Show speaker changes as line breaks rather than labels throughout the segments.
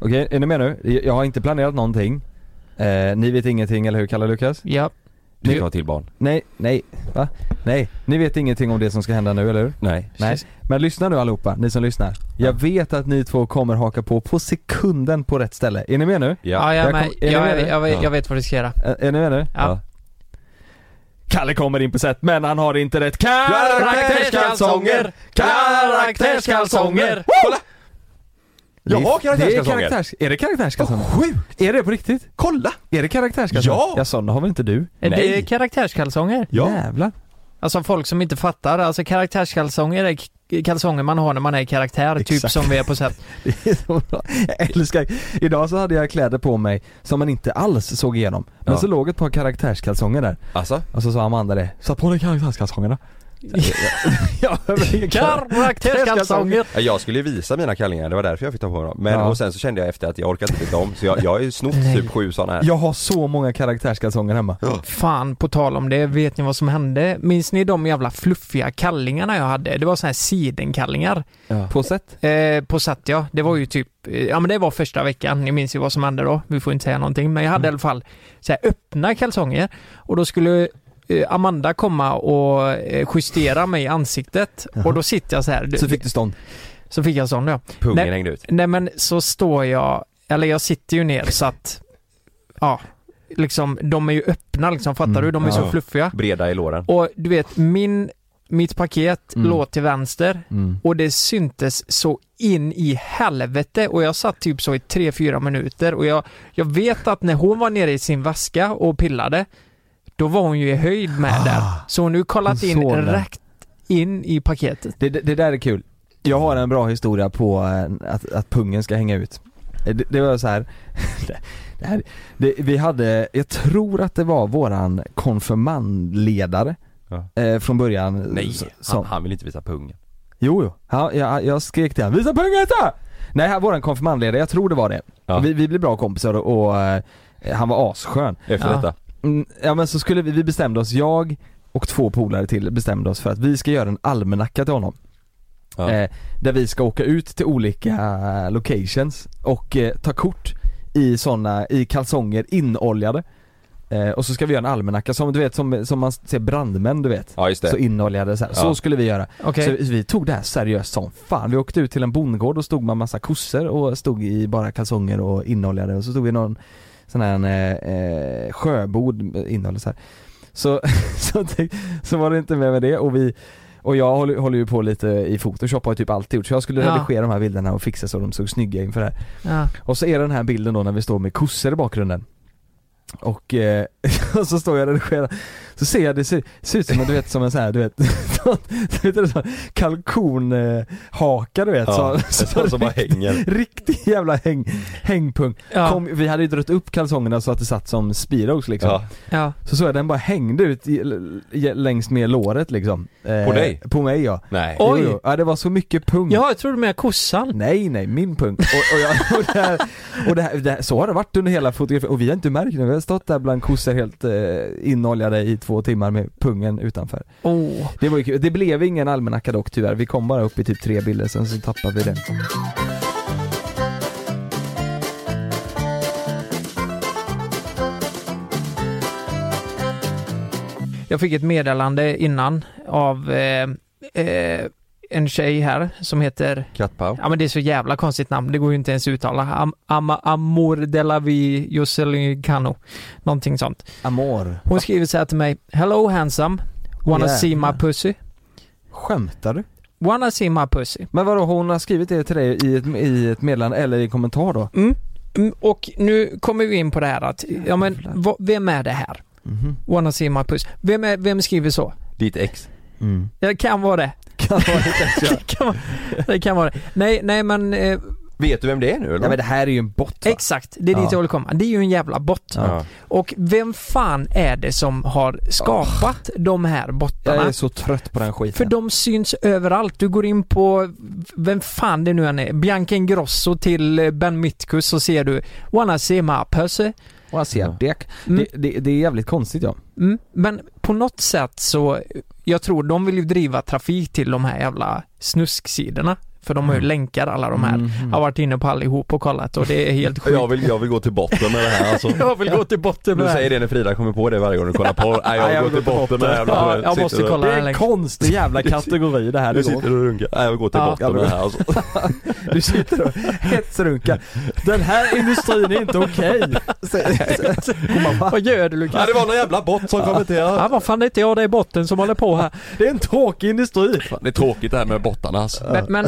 Okej, är ni med nu? Jag har inte planerat någonting. Eh, ni vet ingenting, eller hur Kalle Lukas?
Ja.
Du
Du-
ska ha till barn.
Nej, nej, va? Nej, ni vet ingenting om det som ska hända nu, eller hur?
Nej.
Nej. Men lyssna nu allihopa, ni som lyssnar. Jag vet att ni två kommer haka på på sekunden på rätt ställe. Är ni med nu?
Ja, jag,
Jag
är med.
kom- är
jag,
ni med
jag,
nu?
jag,
Ja.
jag vet vad du ska göra.
Ä- Är ni med nu?
Ja.
Kalle kommer in på set, men han har inte rätt karaktärskalsonger! Karaktärskalsonger!
Kolla! Jag har karaktärskalsonger.
Det är, karaktärs, är det karaktärskalsonger?
Sjukt!
Är det på riktigt?
Kolla!
Är det karaktärskalsonger?
Ja!
Ja, sådana har väl inte du?
Är Det
Nej.
är karaktärskalsonger.
Jävlar.
Alltså folk som inte fattar. Alltså karaktärskalsonger är k- kalsonger man har när man är i karaktär. Typ
Exakt.
som vi är på set.
Det är så bra. Jag älskar. Idag så hade jag kläder på mig som man inte alls såg igenom. Men
Ja.
så låg ett par karaktärskalsonger där.
Alltså?
Och så sa Amanda det. Satt på dig karaktärskalsongerna. ja, men-
Karaktärskalsonger!
Ja, Jag skulle ju visa mina kallingar, det var därför jag fick ta på dem. Men
Ja.
och sen så kände jag efter att jag orkade inte byta om, så jag, jag har ju snott typ sju sådana här.
Jag har så många karaktärskalsonger hemma.
Fan, på tal om det, vet ni vad som hände? Minns ni de jävla fluffiga kallingarna jag hade? Det var såna här sidenkallingar.
På sätt.
Eh, på Satt ja. Det var ju typ, eh, ja men det var första veckan, ni minns ju vad som hände då, vi får inte säga någonting, men jag
Mm.
hade i alla fall så här, öppna kalsonger och då skulle eh, Amanda komma och eh, justera mig i ansiktet och då sitter jag så här.
Så fick du stånd.
så fick jag sån ja.
Pungen
Nej.
hängde ut.
Nej men så står jag, eller jag sitter ju ner så att, ja, liksom de är ju öppna liksom, fattar
Mm.
du? De är så
Ja.
fluffiga.
Breda i låren.
Och du vet, min, mitt paket
Mm.
låg till vänster
Mm.
och det syntes så in i helvete och jag satt typ så i 3-4 minuter och jag, jag vet att när hon var nere i sin väska och pillade då var hon ju i höjd med där. Så hon har ju kollat
Ah, hon
in
såg den.
rätt in i paketet.
Det, det, det där är kul. Jag har en bra historia på eh, att, att pungen ska hänga ut. Eh, Det, det var så här. Det här det, vi hade, jag tror att det var våran konfirmandledare
Ja.
eh, från början.
Nej,
s-
han,
som-
han vill inte visa pungen.
Jo, jo. Ja, jag, jag skrek till honom 'Visa pungen inte!' Nej, han- våran konfirmandledare, jag tror det var det.
Ja.
Vi, vi blev bra kompisar och, och eh, han var asskön.
Efter
Ja.
detta.
Mm, ja men så skulle vi, vi bestämde oss, jag och två polare till bestämde oss för att vi ska göra en almanacka till honom.
Ja.
Eh, där vi ska åka ut till olika eh, locations och eh, ta kort i sådana, i kalsonger inoljade. Eh, och så ska vi göra en almanacka som du vet, som, som man ser brandmän du vet.
Ja just
Så
det.
inoljade så, här. så
Ja.
skulle vi göra.
Okej.
Så vi, vi tog det här seriöst som fan. Vi åkte ut till en bondgård och stod med massa kossor och stod i bara kalsonger och inoljade och så tog vi någon sån här eh, eh, sjöbord innehåll så här. Så, så, tänk- så var det inte med med det och vi och jag håller, håller ju på lite i photoshop har ju typ alltid gjort så jag skulle
Ja.
redigera de här bilderna och fixa så de såg snygga inför det här.
Ja.
Och så är det den här bilden då när vi står med kossor i bakgrunden och, eh, och så står jag och redigerar, så ser jag det ser, ser ut som en, du vet som en sån här, du vet, du vet en sån kalkonhaka du vet
Ja,
så,
en sån som bara hänger.
Riktig jävla häng, hängpung.
Ja.
Kom, vi hade ju dragit upp kalsongerna så att det satt som speedos liksom
Ja.
Ja.
Så såg jag den bara hängde ut i, l- l- längs med låret liksom Eh,
På dig?
På mig ja
Nej.
Och- Oj.
Jo, jo. Ja det var så mycket pung
ja, jag trodde med kossan.
Nej nej, min punkt. Och, och, jag, och, det, här, och det, här, det här, så har det varit under hela fotografin och vi har inte märkt det, vi har stått där bland kossor helt eh, inoljade i två timmar med pungen utanför.
Oh.
Det var ju kul. Det blev ingen almanacka dock tyvärr, vi kom bara upp i typ tre bilder sen så tappade vi det.
Jag fick ett meddelande innan av eh, eh, en tjej här som heter
Kattpaow.
Ja men det är så jävla konstigt namn, det går ju inte ens att uttala. Am, ama, amor de la vi Joselicano. Någonting sånt.
Amor.
Hon skriver så här till mig. Hello handsome. Wanna see my
Jävlar.
pussy?
Skämtar du?
Wanna see my pussy?
Men vadå, hon har skrivit det till dig i ett, i ett meddelande eller i en kommentar då?
Mm. Mm, Och nu kommer vi in på det här att, ja men
Jävlar.
vad- vem är det här?
Mhm.
Wanna see my pussy? Vem, är, vem skriver så?
Ditt ex.
Mm.
Det kan vara det.
Kan vara lite extra.
Det kan vara det. Kan vara det. Nej, nej men eh,
Vet du vem det är nu eller?
Nej men det här är ju en bot va?
exakt, det är dit
Ja.
jag vill komma. Det är ju en jävla bot.
ja.
Och vem fan är det som har skapat de här bottarna?
Jag är så trött på den skiten.
För de syns överallt. Du går in på, vem fan det nu än är, Bianca Ingrosso till eh, Ben Mitkus så ser du Wanna see my pussy.
Och han ser
Ja.
dek.
Mm.
Det, det, det är jävligt konstigt ja.
Mm. Men på något sätt så, jag tror de vill ju driva trafik till de här jävla snusksidorna. För de har ju länkar alla de här. Jag har varit inne på allihop och kollat och det är helt sjukt.
Jag vill, jag vill gå till botten med det här alltså.
Jag vill gå till botten
Du
med det här.
säger det när Frida kommer på det varje gång du kollar på Nej jag, går till botten med det här.
Ja, jag
Sitter
måste
och-
kolla.
Det är
länk.
en konstig jävla kategori det här
Du
du går.
sitter och runkar. Nej jag går till
Ja.
botten med det här alltså.
Du sitter och hetsrunkar. Den här industrin är inte okej. Okay. Och man bara,
Vad gör du
Nej
Lukas?
det var någon jävla bot som kommenterade.
Ja, vad fan det är inte jag där i botten som håller på här.
det är en tråkig industri.
Fan, Det är tråkigt det här med bottarna alltså.
Men, men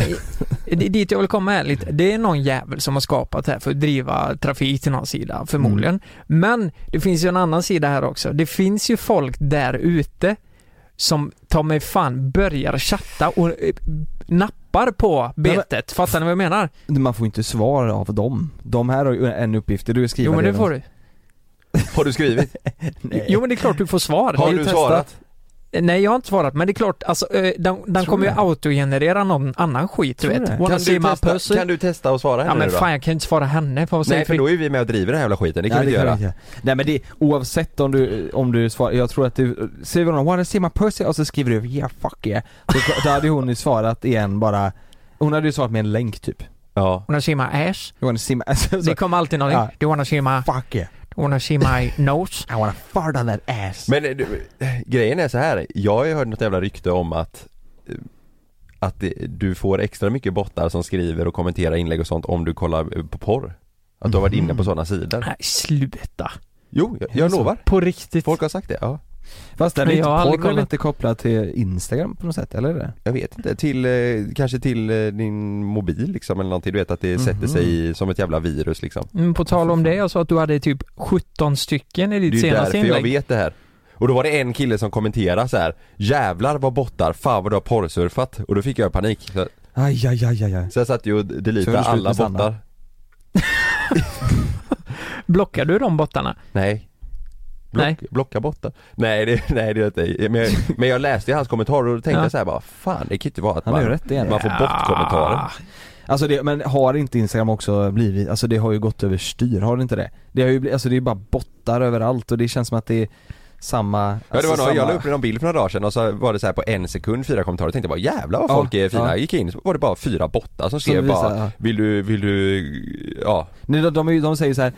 i- di- dit jag vill komma är lite, det är någon jävel som har skapat det här för att driva trafik till någon sida förmodligen.
Mm.
Men det finns ju en annan sida här också. Det finns ju folk där ute som ta mig fan börjar chatta och eh, nappar på
men-
betet. Fattar ni vad jag menar?
"Ah." Man får ju inte svar av dem. De här har ju en uppgift, du skriver
Jo men det får du.
Har du skrivit?
Nej.
Jo men det är klart du får svar.
Har
Det är
du
ju testa-
svarat?
Nej jag har inte svarat men det är klart, alltså, eh, den, den kommer ju
det.
autogenerera någon annan skit du
Tror
vet.
det?
Wanna
Kan
see
du,
my
testa,
pussy?
kan du testa och svara
Ja
henne
men
nu då?
fan jag kan ju inte svara henne, för vad säger
Nej för
Frid-
då är vi med och driver den här jävla skiten, det kan
Nej,
vi inte
kan
göra.
vi inte göra. Nej men det, oavsett om du, om du svarar, jag tror att du, skriver hon 'Wanna see my pussy' och så skriver du 'Yeah fuck yeah' så, Då hade hon ju svarat igen bara, hon hade ju svarat med en länk typ.
Ja.
Wanna see my ass?
You wanna see my, alltså,
Det
så,
kommer alltid någonting.
Ja.
Du wanna see my,
fuck yeah,
wanna see my nose?
I wanna fart on that ass.
Men eh, du, eh, grejen är så här. jag har ju hört något jävla rykte om att eh, att det, du får extra mycket bottar som skriver och kommenterar inlägg och sånt om du kollar eh, på porr. Att du har varit inne på sådana sidor.
Mm. Nej sluta.
Jo, jag, jag lovar.
På riktigt.
Folk har sagt det, ja.
Fast den är
Men
inte,
jag har aldrig
porr är väl
kollat.
inte kopplad till Instagram på något sätt, eller är det?
Jag vet inte, till, eh, kanske till eh, din mobil liksom eller någonting, du vet att det
Mhm.
sätter sig i, som ett jävla virus liksom.
Mm, på tal om det, jag sa att du hade typ 17 stycken i
Det är
ditt
ju
senaste
därför jag
inlägg.
vet det här. Och då var det en kille som kommenterade så här. Jävlar vad bottar, fan vad du har porrsurfat. Och då fick jag panik. Så,
Aj, aj, aj, aj, aj.
så jag satt ju och
Så var
deletade
det slut
alla
med Sanna.
bottar.
Blockar du de bottarna?
Nej. Block,
Nej.
Blocka bottar. Nej det, nej det är inte. Men jag, men jag läste ju hans kommentarer och då tänkte
Ja.
jag så här bara, fan det kan ju inte vara att
Han har
man,
ju rätt igen.
man får bort-kommentarer.
Ah,
Alltså det, men har inte Instagram också blivit, alltså det har ju gått över styr, har det inte det? Det har ju blivit, alltså det är ju bara bottar överallt och det känns som att det är samma,
Ja det
alltså
var någon,
samma...
jag la upp någon bild för några dagar sedan och så var det så här på en sekund fyra kommentarer och tänkte bara jävlar vad
Ja,
folk är fina.
ja.
Jag gick in så var det bara fyra bottar som
Som
skrev
visar,
bara
ja.
vill du, vill du, ja.
Nej, de, de, är ju- de säger så här: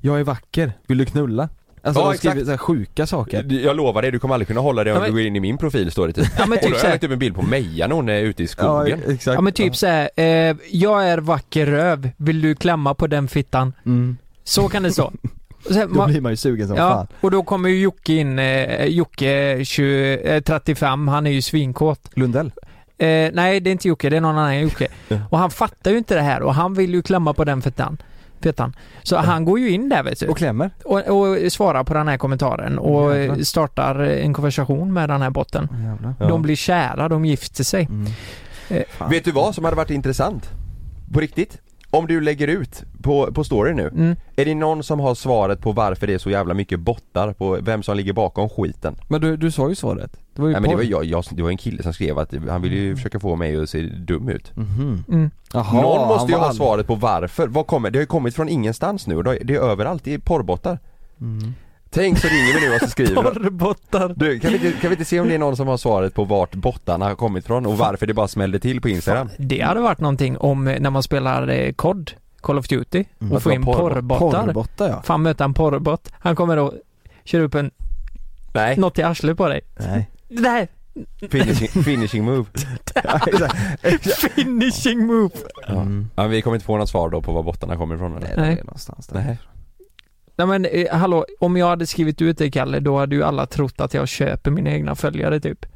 jag är vacker, vill du knulla? Alltså
Ja,
de skriver
exakt.
så här sjuka saker.
Jag lovar dig du kommer aldrig kunna hålla det om
Ja, men-
du går in i min profil står det typ.
Ja, men
och då
typ
har
så
jag
här.
lagt upp en bild på Meja när hon är ute i
Ja,
skogen.
exakt.
ja men typ såhär, eh, jag är vacker röv, vill du klämma på den fittan?
Mm.
Så kan det stå. Och sen,
Då
man-
blir man ju sugen som
ja,
fan.
och då kommer ju Jocke in, eh, Jocke 20, eh, 35, han är ju svinkåt.
Lundell?
Eh, nej, det är inte Jocke, det är någon annan Jocke. Och han fattar ju inte det här och han vill ju klämma på den fettan. fettan. Så han går ju in där vet du
Och klämmer?
och, och svarar på den här kommentaren och eh,
Jävlar.
startar en konversation med den här botten.
Jävlar.
De blir kära, de gifter sig. Eh,
Mm.
Vet du vad som hade varit intressant? På riktigt? Om du lägger ut på, på story nu,
Mm.
är det någon som har svaret på varför det är så jävla mycket bottar på vem som ligger bakom skiten?
Men du, du sa ju svaret. Det var ju
Nej men det
porr.
var jag, jag, det var en kille som skrev att han ville ju försöka få mig att se dum ut.
Mhm.
Mm.
Jaha,
Någon
han
måste ju
var
ha
all-
svaret på varför. Vad kommer, det har ju kommit från ingenstans nu och det har- det är överallt, det är porrbottar.
Mm.
Tänk så ringer vi nu och så skriver de.
Porrbottar.
Du, kan vi, inte, kan vi inte se om det är någon som har svaret på vart bottarna har kommit från och varför det bara smällde till på Instagram?
Det hade varit någonting om eh, när man spelar eh, COD, Call of Duty, och
Att
får
vara
in
porr-
porrbottar.
Porrbotta ja.
Fan möta en porrbott. Han kommer och kör upp en,
Nej,
något i arslet på dig.
Nej.
Nej,
Finishing, finishing move. Ja, exakt.
Finishing move!
Ja. Ja, vi kommer inte få något svar då på var bottarna kommer ifrån
Nej,
eller?
det
Nej.
är någonstans där.
Nej.
Nej men eh, hallå, om jag hade skrivit ut det Kalle, då hade ju alla trott att jag köper mina egna följare typ.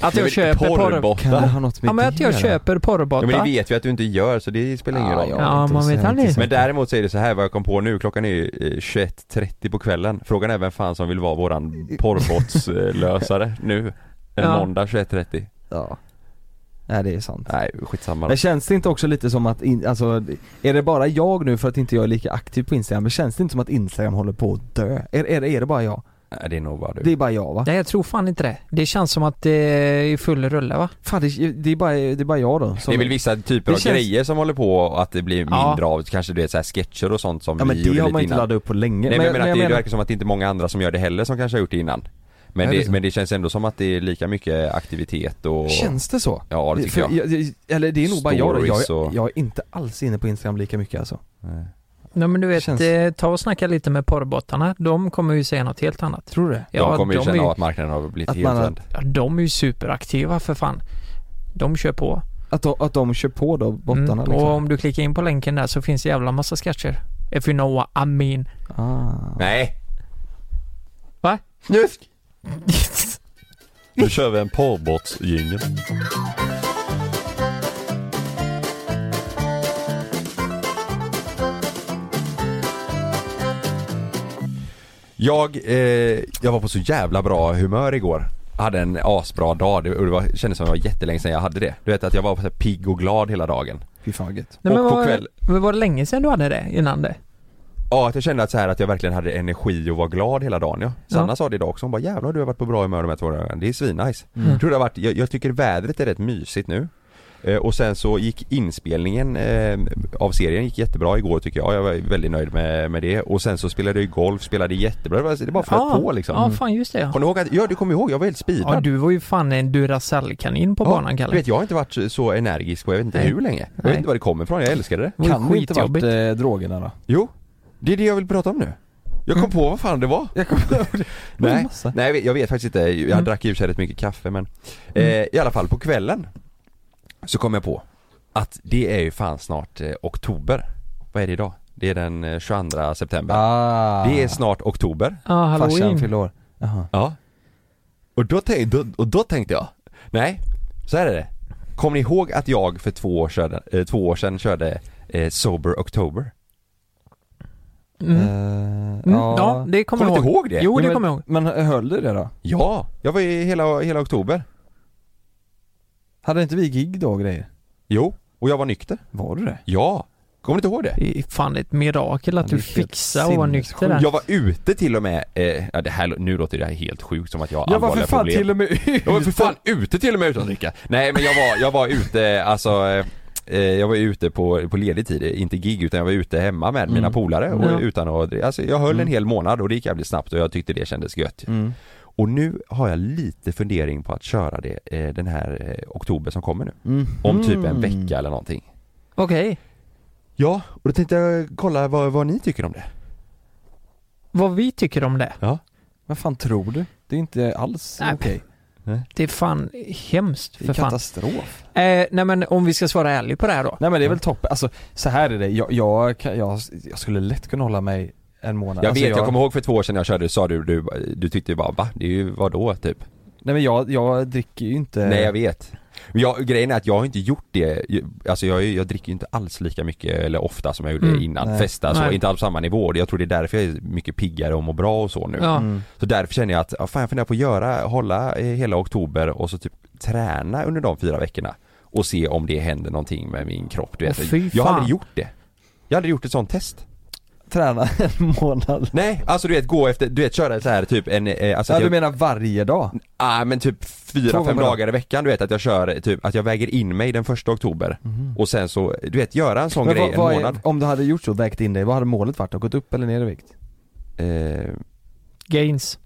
Att jag köper porr...
Kan det
porrbottar?
ha något med
Ja men att
det
jag
att göra?
köper
Ja, men det
porrbottar.
vet vi att du inte gör så det spelar ingen roll.
jag
Ja,
vet inte,
man
så
vet
jag är
aldrig.
inte så-
Men däremot säger det så här vad jag kom på nu, klockan är ju eh, 21.30 på kvällen. Frågan är vem fan som vill vara våran porrbotslösare nu? En
Ja.
måndag 21.30?
Ja. Nej det är sant.
Nej, skitsamma då.
Men känns det inte också lite som att, in, alltså, är det bara jag nu för att inte jag är lika aktiv på Instagram? Men känns det inte som att Instagram håller på att dö? Är, är, det- är det bara jag?
Nej, det är nog bara du.
Det är bara jag va?
Nej jag tror fan inte det. Det känns som att det är full rulle va?
Fan det, det, är, bara, det är bara jag då. Som,
det är väl vissa typer
Det
av
känns-
grejer som håller på att det blir mindre
Ja.
av, kanske du vet så här sketcher och sånt som
ja men
vi
det
gjorde
har man
lite
inte
innan.
laddat upp på länge.
Nej men, jag menar att det, det
menar-
verkar som att det inte är många andra som gör det heller som kanske har gjort det innan. Men,
Nej, det är
det,
så.
men det känns ändå som att det är lika mycket aktivitet och...
Känns det så?
Ja det tycker
För
jag.
Eller det är nog bara jag då. jag,
Stories och-
jag är inte alls inne på Instagram lika mycket alltså.
Nej.
Nej men du vet,
Känns-
eh, ta och snacka lite med porrbottarna. De kommer ju säga något helt annat.
Tror du det?
De kommer ju
de,
känna
är,
att marknaden har blivit
att
helt
man har-
vänd.
ja, de är ju superaktiva för fan. De kör på.
Att de, att de kör på då, bottarna
Mm.
liksom?
Och om du klickar in på länken där så finns det jävla massa sketcher. If you know what I mean.
Ah.
Nej!
Va?
Snusk! Nu kör vi en porrbrottsjingel. Jag, eh, jag var på så jävla bra humör igår. Jag hade en asbra dag, det, och det var, kändes som det var jättelänge sedan jag hade det. Du vet att jag var så här pigg och glad hela dagen.
Fy fan vad gött.
Nej, men
och på
var,
kväll,
men var det länge sedan du hade det innan det?
ja att jag kände att, så här, att jag verkligen hade energi och var glad hela dagen ja. Sanna
Ja.
sa det idag också, hon bara jävlar du har varit på bra humör de här två dagarna, det är svinnice.
Mm.
Jag, tror det har varit, jag, jag tycker vädret är rätt mysigt nu. Eh, och sen så gick inspelningen eh, av serien gick jättebra igår tycker jag, jag var väldigt nöjd med, med det. Och sen så spelade jag ju golf, spelade jättebra, det, var, det bara flöt på liksom.
Ja, fan just det ja.
Kommer du ihåg att, ja du kommer ihåg, jag var helt speedad.
ja du var ju fan en Duracell-kanin på banan
Du
Kalle.
vet jag har inte varit så energisk på jag vet inte
Nej.
hur länge. Jag
Nej.
vet inte var det kommer ifrån, jag älskade det.
Det var ju
Kan det inte varit
skitjobbigt.
eh, drogerna då?
Jo, det är det jag vill prata om nu. Jag kom på vad fan det var.
Jag kommer
Nej,
massa.
nej jag vet- jag vet faktiskt inte, jag drack i och för sig rätt mycket kaffe men eh, I alla fall på kvällen Så kom jag på Att det är ju fan snart eh, oktober Vad är det idag? Det är den eh, 22 september
Ah.
Det är snart oktober
Ja,
Farsan
halloween.
fyller år. Jaha.
Ja och då, tänk, då, och då tänkte jag Nej, så här är det Kommer ni ihåg att jag för två år sedan, eh, två år sedan körde eh, Sober October?
Mm. Mm.
Eh,
Ja, det kommer
Kommer
jag
du inte
ihåg.
ihåg det?
Jo,
Ja,
det
men-
kommer jag ihåg.
Men eh, höll du det då?
Ja, jag var i hela, hela oktober
Hade inte vi gig då och grejer?
Jo, och jag var nykter
Var du det?
Ja, kommer du inte ihåg det?
Det är fan ett mirakel att
Ja,
du
det är helt
fixar och var nykter där.
Jag var ute till och med, eh, ja, det här, nu låter det här helt sjukt som att jag har
Jag var för
allvarliga
fan
problem.
till och med
jag var för fan ute till och med utan att dricka. Nej men jag var, jag var ute, alltså eh, eh, jag var ute på, på ledig tid, inte gig utan jag var ute hemma
Mm.
med mina polare och
Ja.
utan att dricka. Alltså jag höll en hel månad och det gick jävligt snabbt och jag tyckte det kändes gött.
Mm.
Och nu har jag lite fundering på att köra det eh, den här eh, oktober som kommer nu.
Mm.
Om typ en
Mm.
vecka eller någonting.
Okej.
Ja, och då tänkte jag kolla vad, vad ni tycker om det.
Vad vi tycker om det.
Vad fan tror du? Det är inte alls
Nej,
okej.
Det är fan hemskt
Det
för
är
fan.
katastrof.
Eh, nej men om vi ska svara ärligt på det här då.
Nej men det är väl toppen. Alltså så här är det. Jag, jag, kan- jag, jag skulle lätt kunna hålla mig en månad.
Jag
alltså,
vet, jag... kommer ihåg för två år sedan jag körde sa du, du, du tyckte ju bara va? Det är ju vadå typ?
Nej men jag, jag dricker ju inte.
Nej jag vet. Men Jag, grejen är att jag har inte gjort det, alltså jag, jag dricker ju inte alls lika mycket eller ofta som jag gjorde
Mm.
innan,
Nej.
festa så,
Nej.
inte alls på samma nivå. Jag tror det är därför jag är mycket piggare och mår bra och så nu.
Ja.
Mm.
Så därför känner jag att, ja, fan jag funderar på att göra, hålla eh, hela oktober och så typ träna under de fyra veckorna. Och se om det händer någonting med min kropp, du
Åh,
vet.
fy
jag har
fan.
aldrig gjort det. Jag har aldrig gjort ett sånt test.
Träna en månad.
Nej, alltså du vet gå efter, du vet köra så här typ en, eh, alltså
Ja
att
du
jag-
menar varje dag?
Ah, men typ
Två
fyra, fem
gånger.
dagar i veckan du vet att jag kör, typ att jag väger in mig den första oktober och sen så, du vet göra en sån
Mhm. Men
grej
vad, vad
en
är-
månad.
om du hade gjort så, vägt in dig, vad hade målet varit? Har gått upp eller ner i vikt?
Eh,
Gains.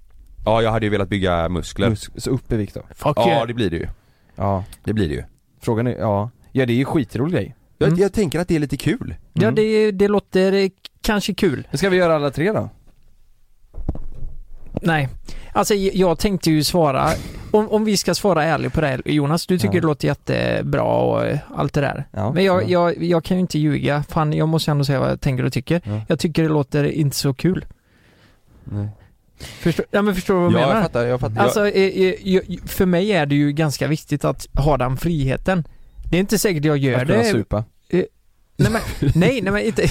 ja jag hade ju velat bygga muskler.
Mus- Så upp i vikt då?
Fuck
Ja
yeah.
det blir det ju,
Ja.
det blir det ju.
Frågan är, ja. Ja det är ju skitrolig grej.
Jag,
Mm.
jag tänker att det är lite kul.
mm.
Ja det, det låter eh, kanske kul.
Ska vi göra alla tre då?
Nej. Alltså j- jag tänkte ju svara om, om vi ska svara ärligt på det här, Jonas, du tycker
Ja.
det låter jättebra och eh, allt det där.
Ja,
Men jag,
ja.
jag, jag kan ju inte ljuga, fan jag måste ändå säga vad jag tänker och tycker.
Ja.
Jag tycker det låter inte så kul.
Nej.
Förstår, ja, men förstår du vad jag
Ja, jag
menar?
fattar, jag fattar. Jag-
Alltså, eh, eh, jag, för mig är det ju ganska viktigt att ha den friheten. Det är inte säkert jag gör
Att kunna
det.
supa.
Nej, men, nej, nej men inte.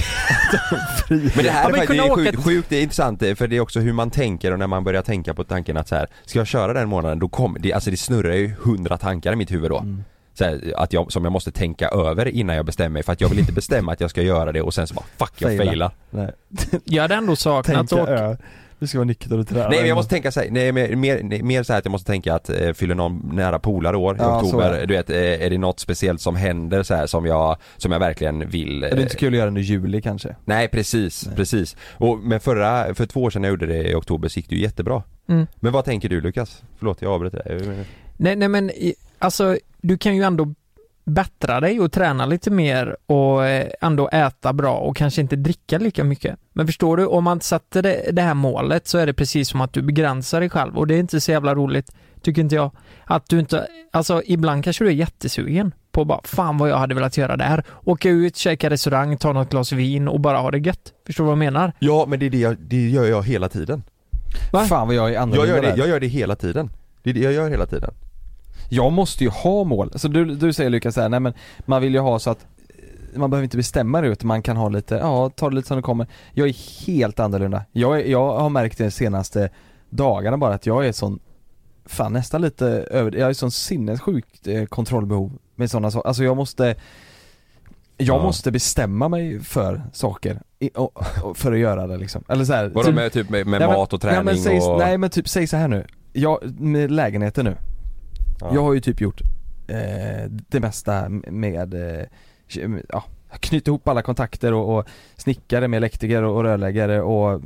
Men det här
Ja, men
är faktiskt det
kunna
är
åka
sjukt,
till-
sjukt det är intressant eh, för det är också hur man tänker och när man börjar tänka på tanken att så här, ska jag köra den månaden då kommer, det, alltså det snurrar ju hundra tankar i mitt huvud då.
Mm.
Så här, att jag, som jag måste tänka över innan jag bestämmer mig för att jag vill inte bestämma att jag ska göra det och sen så bara fuck jag
Faila.
failar.
Nej.
Jag hade ändå saknat
Tänka
och
ö. Du ska vara nykter och träna.
Nej men jag måste tänka såhär, nej mer, mer, nej, mer så här att jag måste tänka att eh, fyller någon nära polare år i
Ja, så är det.
oktober, du vet eh, är det något speciellt som händer så här som jag, som jag verkligen vill
Är det
eh,
inte så kul att göra den i juli kanske?
Nej precis, precis. Och, men förra, för två år sedan jag gjorde det i oktober så gick det ju jättebra.
Mm.
Men vad tänker du Lukas? Förlåt jag avbröt dig.
Nej, nej men i- alltså du kan ju ändå bättra dig och träna lite mer och eh, ändå äta bra och kanske inte dricka lika mycket. Men förstår du, om man sätter det, det här målet så är det precis som att du begränsar dig själv och det är inte så jävla roligt, tycker inte jag. Att du inte, alltså ibland kanske du är jättesugen på bara fan vad jag hade velat göra där. Åka ut, käka restaurang, ta något glas vin och bara ha det gött. Förstår du vad jag menar?
Ja men det, är det, jag, det gör jag hela tiden.
Va?
Fan vad jag är
Jag
annorlunda
gör det,
där.
jag gör det hela tiden. Det är det jag gör hela tiden.
Jag måste ju ha mål. Så du, du säger Lukas så här, nej men man vill ju ha så att eh, man behöver inte bestämma det utan man kan ha lite, ja ta det lite som det kommer. Jag är helt annorlunda. Jag, är, jag har märkt det de senaste dagarna bara att jag är sån, fan nästan lite över, jag är sån sinnessjukt eh, kontrollbehov med sådana saker. Alltså jag måste jag
Ja.
måste bestämma mig för saker, i, och, och, för att göra det liksom. Eller så här,
Vadå
typ-
med typ med, med
Nej, men-
mat och
nej,
träning
men säg,
och...
Nej men typ, säg så här nu. Jag, med lägenheten nu.
Ja.
Jag har ju typ gjort eh, det mesta med, eh, ke- ja, knyta ihop alla kontakter och, och snickare med elektriker och, och rörläggare och eh,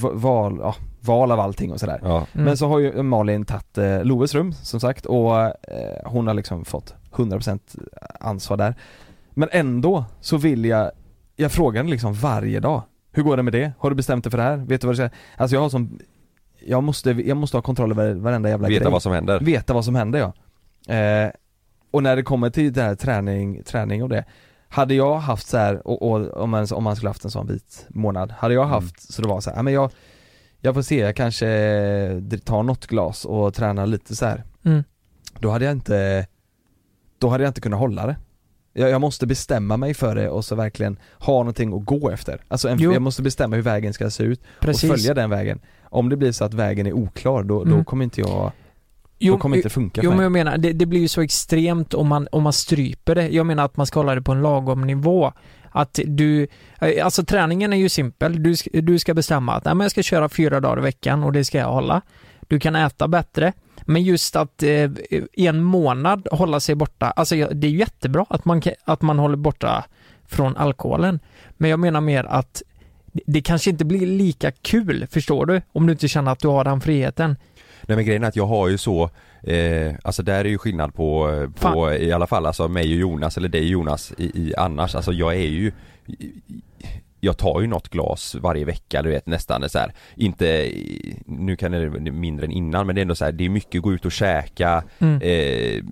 v- val, ja, val av allting och sådär.
Ja.
Mm.
Men så har ju Malin tagit eh, Loves rum som sagt och eh, hon har liksom fått 100% ansvar där. Men ändå så vill jag, jag frågar henne liksom varje dag. Hur går det med det? Har du bestämt dig för det här? Vet du vad du ska, alltså jag har som, jag måste, jag måste ha kontroll över varenda jävla
Veta
grej.
vad som händer.
Veta vad som händer ja. Eh, och när det kommer till det här träning, träning och det. Hade jag haft så här, och, och om, man, om man skulle haft en sån vit månad, hade
Mm.
jag haft så det var så här, "Ja, men jag, jag får se, jag kanske dr- tar något glas och tränar lite så här.
Mm.
Då hade jag inte, då hade jag inte kunnat hålla det. Jag, jag måste bestämma mig för det och så verkligen ha någonting att gå efter. Alltså en,
Jo.
jag måste bestämma hur vägen ska se ut
Precis.
och följa den vägen. Om det blir så att vägen är oklar, då, då
Mm.
kommer inte jag
Jo,
då kommer inte funka
Jo
för
men
mig.
jag menar, det, det blir ju så extremt om man, om man stryper det. Jag menar att man ska hålla det på en lagom nivå. Att du, eh, alltså träningen är ju simpel. Du, sk- du ska bestämma att "Nej, men jag ska köra fyra dagar i veckan och det ska jag hålla. Du kan äta bättre. Men just att eh, i en månad hålla sig borta, alltså jag- det är ju jättebra att man, kan- att man håller borta från alkoholen. Men jag menar mer att det- det kanske inte blir lika kul, förstår du? Om du inte känner att du har den friheten.
Nej men grejen är att jag har ju så, eh, alltså där är ju skillnad på, eh, på i alla fall alltså mig och Jonas eller dig och Jonas i, i annars, alltså jag är ju jag tar ju något glas varje vecka du vet nästan så här. Inte, nu kan det vara mindre än innan men det är ändå så här, det är mycket gå ut och käka
Mm.
eh,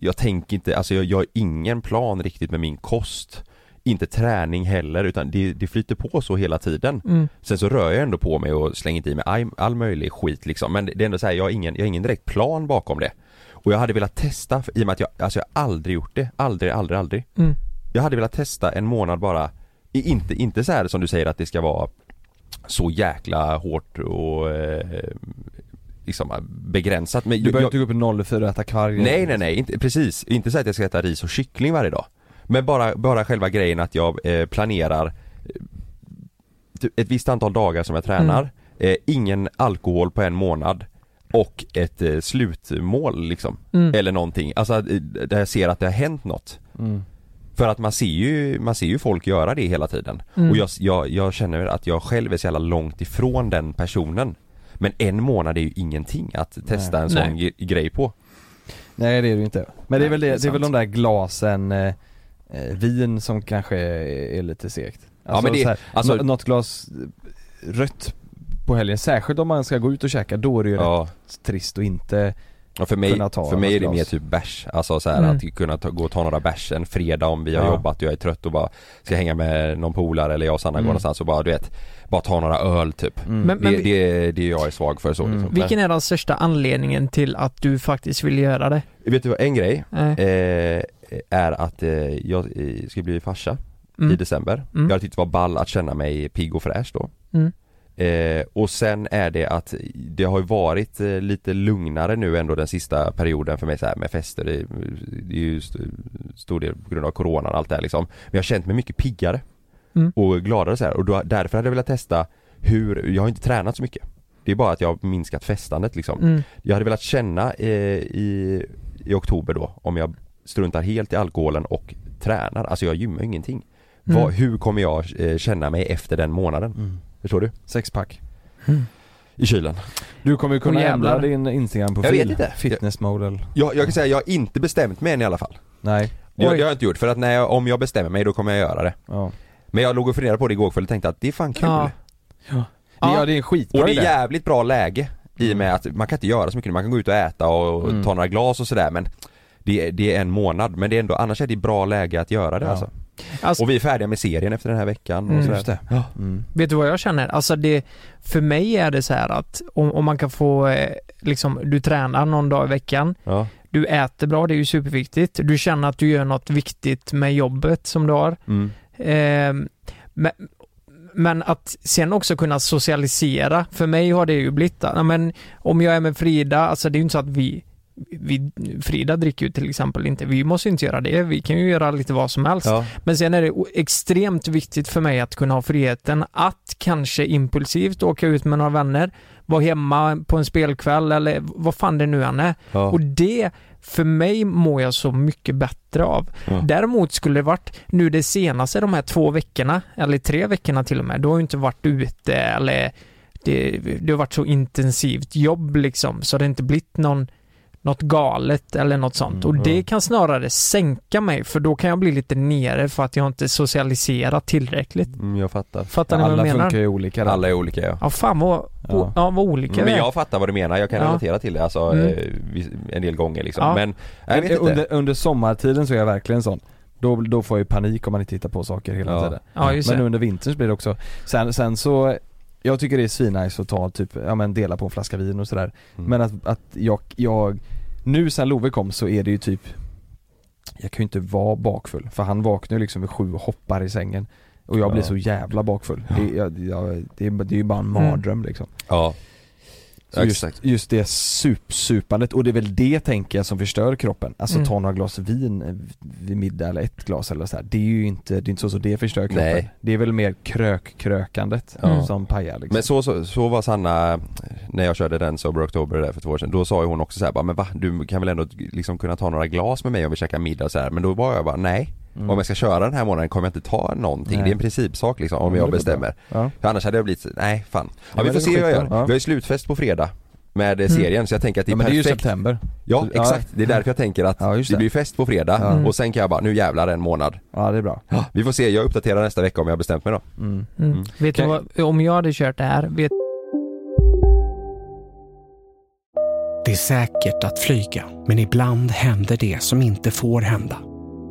Jag tänker inte, alltså jag, jag har ingen plan riktigt med min kost Inte träning heller utan det, det flyter på så hela tiden
Mm.
Sen så rör jag ändå på mig och slänger inte i mig all, all möjlig skit liksom Men det är ändå så här, jag har ingen, jag har ingen direkt plan bakom det Och jag hade velat testa, för, i och med att jag, alltså jag har aldrig gjort det, aldrig, aldrig, aldrig
Mm.
Jag hade velat testa en månad bara I- Inte, inte så här som du säger att det ska vara Så jäkla hårt och eh, Liksom begränsat men
Du
jag-
behöver inte gå upp i 04 och äta kvarg
Nej nej nej, inte, precis. Inte så att jag ska äta ris och kyckling varje dag. Men bara, bara själva grejen att jag eh, planerar eh, ty- ett visst antal dagar som jag tränar,
Mm.
eh, ingen alkohol på en månad och ett eh, slutmål liksom.
Mm.
Eller någonting, alltså att, eh, där jag ser att det har hänt något.
Mm.
För att man ser ju, man ser ju folk göra det hela tiden.
Mm.
Och jag, jag, jag känner att jag själv är så jävla långt ifrån den personen. Men en månad är ju ingenting att testa en sån ge- grej på.
Nej det är det ju inte. Men det är väl, det,
Nej,
det
det
är
är
väl de där glasen eh, eh, vin som kanske är, är lite segt.
men det-
så här,
alltså-
nå- något glas eh, rött på helgen, särskilt om man ska gå ut och käka, då är det ju rätt trist och inte
Ja, för mig,
kunna ta
för mig är det
något
mer
glas.
typ bärs, alltså så här
Mm.
att kunna ta, gå och ta några bärs en fredag om vi har
Ja.
jobbat och jag är trött och bara ska hänga med någon polare eller jag och Sanna
Mm.
går någonstans och bara du vet, bara ta några öl typ.
Mm.
Men-
det, det, det jag är svag för så
Mm.
liksom.
Vilken är den största anledningen till att du faktiskt vill göra det?
Men, Vet du vad, en grej
Eh,
eh, är att eh, jag eh, ska bli farsa i
Mm.
december.
Mm.
Jag tyckte det var ball att känna mig pigg och fräsch då.
Mm.
Eh, och sen är det att det har ju varit eh, lite lugnare nu ändå den sista perioden för mig så här med fester. Det, det är ju st- stor del på grund av coronan och allt det här liksom. Men jag har känt mig mycket piggare
Mm.
och gladare så här. och då, därför hade jag velat testa hur, jag har inte tränat så mycket. Det är bara att jag har minskat festandet liksom.
Mm.
Jag hade velat känna eh, i, i oktober då om jag struntar helt i alkoholen och tränar, alltså jag gymmar ju ingenting.
Mm.
Vad, hur kommer jag eh, känna mig efter den månaden?
Mm.
Förstår du?
Sexpack.
I kylen.
Du kommer ju kunna
Åh, jävlar.
ändra din instagramprofil.
Jag vet inte.
Fitnessmodel.
Jag, jag kan säga jag har inte bestämt mig än i alla fall.
Nej.
Det, har-
Oj.
det har jag inte gjort för att när jag, om jag bestämmer mig då kommer jag göra det.
Ja.
Men jag låg och funderade på det igår kväll och tänkte att det är fan kul.
Ja.
Ja.
Ja.
det är en skitbra
Och det är
idé.
jävligt bra läge i och med att man kan inte göra så mycket nu. man kan gå ut och äta och
Mm.
ta några glas och sådär men det, är- det är en månad men det är ändå, annars är det bra läge att göra det
Ja.
alltså.
Alltså,
Och vi är färdiga med serien efter den här veckan och
Mm.
sådär.
Just det.
Ja.
Mm.
Vet du vad jag känner? Alltså det, för mig är det så här att om, om man kan få, eh, liksom, du tränar någon dag i veckan,
Ja.
du äter bra, det är ju superviktigt, du känner att du gör något viktigt med jobbet som du har.
Mm.
Ehm, men, men att sen också kunna socialisera, för mig har det ju blivit, ja, men om jag är med Frida, alltså det är ju inte så att vi, vi Frida dricker ju till exempel inte, vi måste ju inte göra det, vi kan ju göra lite vad som helst.
Ja.
Men sen är det o- extremt viktigt för mig att kunna ha friheten att kanske impulsivt åka ut med några vänner, vara hemma på en spelkväll eller vad fan det nu än är.
Ja.
Och det, för mig mår jag så mycket bättre av.
Ja.
Däremot skulle det varit nu det senaste de här två veckorna, eller tre veckorna till och med, då har jag inte varit ute eller det, det har varit så intensivt jobb liksom så det har inte blivit någon något galet eller något sånt.
Mm,
och det
ja.
kan snarare sänka mig för då kan jag bli lite nere för att jag inte socialiserat tillräckligt.
Mm, jag fattar.
Fattar ni vad
Alla
jag menar?
funkar ju olika där.
Alla är olika ja. Mm,
Ja, fan vad,
Ja.
ja. Ja, vad olika
Men
vi är.
jag fattar vad du menar, jag kan
Ja.
relatera till det alltså
Mm.
eh, vis- en del gånger liksom.
Ja.
Men, jag vet
Men
inte.
Under, under sommartiden så är jag verkligen sån. Då, då får jag ju panik om man inte hittar på saker hela
Ja.
tiden.
Ja, just
Men
det.
under vintern så blir det också, sen, sen så jag tycker det är svinnice att ta typ, ja men dela på en flaska vin och sådär.
Mm.
Men att, att jag, jag, nu sen Love kom så är det ju typ Jag kan ju inte vara bakfull för han vaknar ju liksom vid sju och hoppar i sängen Och jag blir
Ja.
så jävla bakfull. Det, jag, jag, det, är, det är ju bara en
Mm.
mardröm liksom.
Ja.
Så
Ja,
just,
exakt.
just det supsupandet och det är väl det tänker jag som förstör kroppen. Alltså
Mm.
ta några glas vin eh, vid middag eller ett glas eller så här. Det är ju inte, det är inte så, så det förstör kroppen.
Nej.
Det är väl mer krökkrökandet
Ja. Mm.
som pajar liksom.
Men så, så, så var Sanna, när jag körde den Sober October där för två år sedan, då sa ju hon också så här, bara, men va? Du kan väl ändå liksom kunna ta några glas med mig om vi käkar middag och så här. Men då var jag bara, nej.
Mm.
Om jag ska köra den här månaden kommer jag inte ta någonting.
Nej.
Det är en principsak liksom, om
Ja,
jag
det är väl bra.
bestämmer.
Ja.
För annars hade jag blivit, så- nej fan. Ja,
men
vi
det
får
är
se hur jag gör.
skitbra. Ja.
Vi har ju slutfest på fredag med eh, serien så jag tänker att det är
ja, men det är ju
perfekt.
september.
Ja
Ja.
exakt, det är därför jag tänker att
Ja, just
det
det.
blir fest på fredag
Ja. Mm.
och sen kan jag bara, nu jävlar en månad.
Ja det är bra.
Vi får se, jag uppdaterar nästa vecka om jag har bestämt mig då.
Mm.
Mm.
Mm.
Vet du
Kan-
vad, om jag hade kört det här, vet
Det är säkert att flyga, men ibland händer det som inte får hända.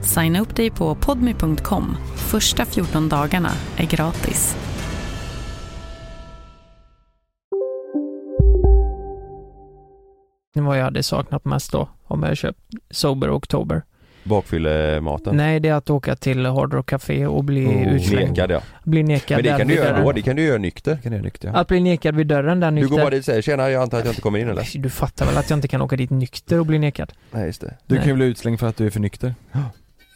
Signa upp dig på podmi.com. Första 14 dagarna är gratis.
Vad jag hade saknat mest då, om jag köpt Sober Oktober.
Bakfyllematen?
Nej, det är att åka till Hard Rock Café och bli utslängd.
Nekad ja.
Bli nekad
Oh, Men det
där
kan du
vid
göra
dörren.
då, det kan du göra nykter.
Att bli nekad vid dörren där
Du
nykter.
går bara dit och säger tjena, jag antar att jag inte kommer in eller?
Du fattar väl att jag inte kan åka dit nykter och bli nekad?
Nej just det.
Du
Nej.
kan ju bli utslängd för att du är för nykter.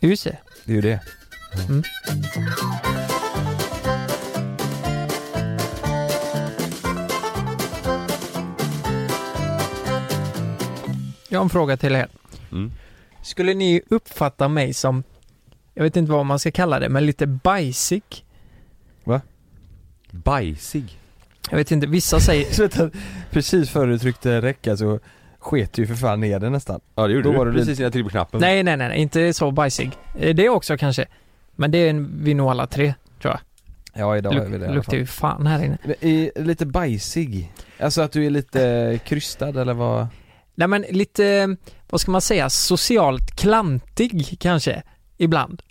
Just det.
Det är ju det.
Mm. Jag har en fråga till er.
Mm.
Skulle ni uppfatta mig som, jag vet inte vad man ska kalla det, men lite bajsig?
Va?
Bajsig?
Jag vet inte, vissa säger...
Så vänta, Precis före du tryckte räcka så sket du ju för fan ner den nästan.
Ja det
gjorde du. Precis
innan jag tryckte på knappen.
Nej, nej, nej, nej, inte så bajsig. Eh, Det också kanske. Men det är en- vi nog alla tre, tror jag.
Ja idag är vi det i alla
Luktar
fall.
ju fan här inne.
Men är lite bajsig? Alltså att du är lite krystad eller vad?
Nej men lite, vad ska man säga, socialt klantig kanske, ibland.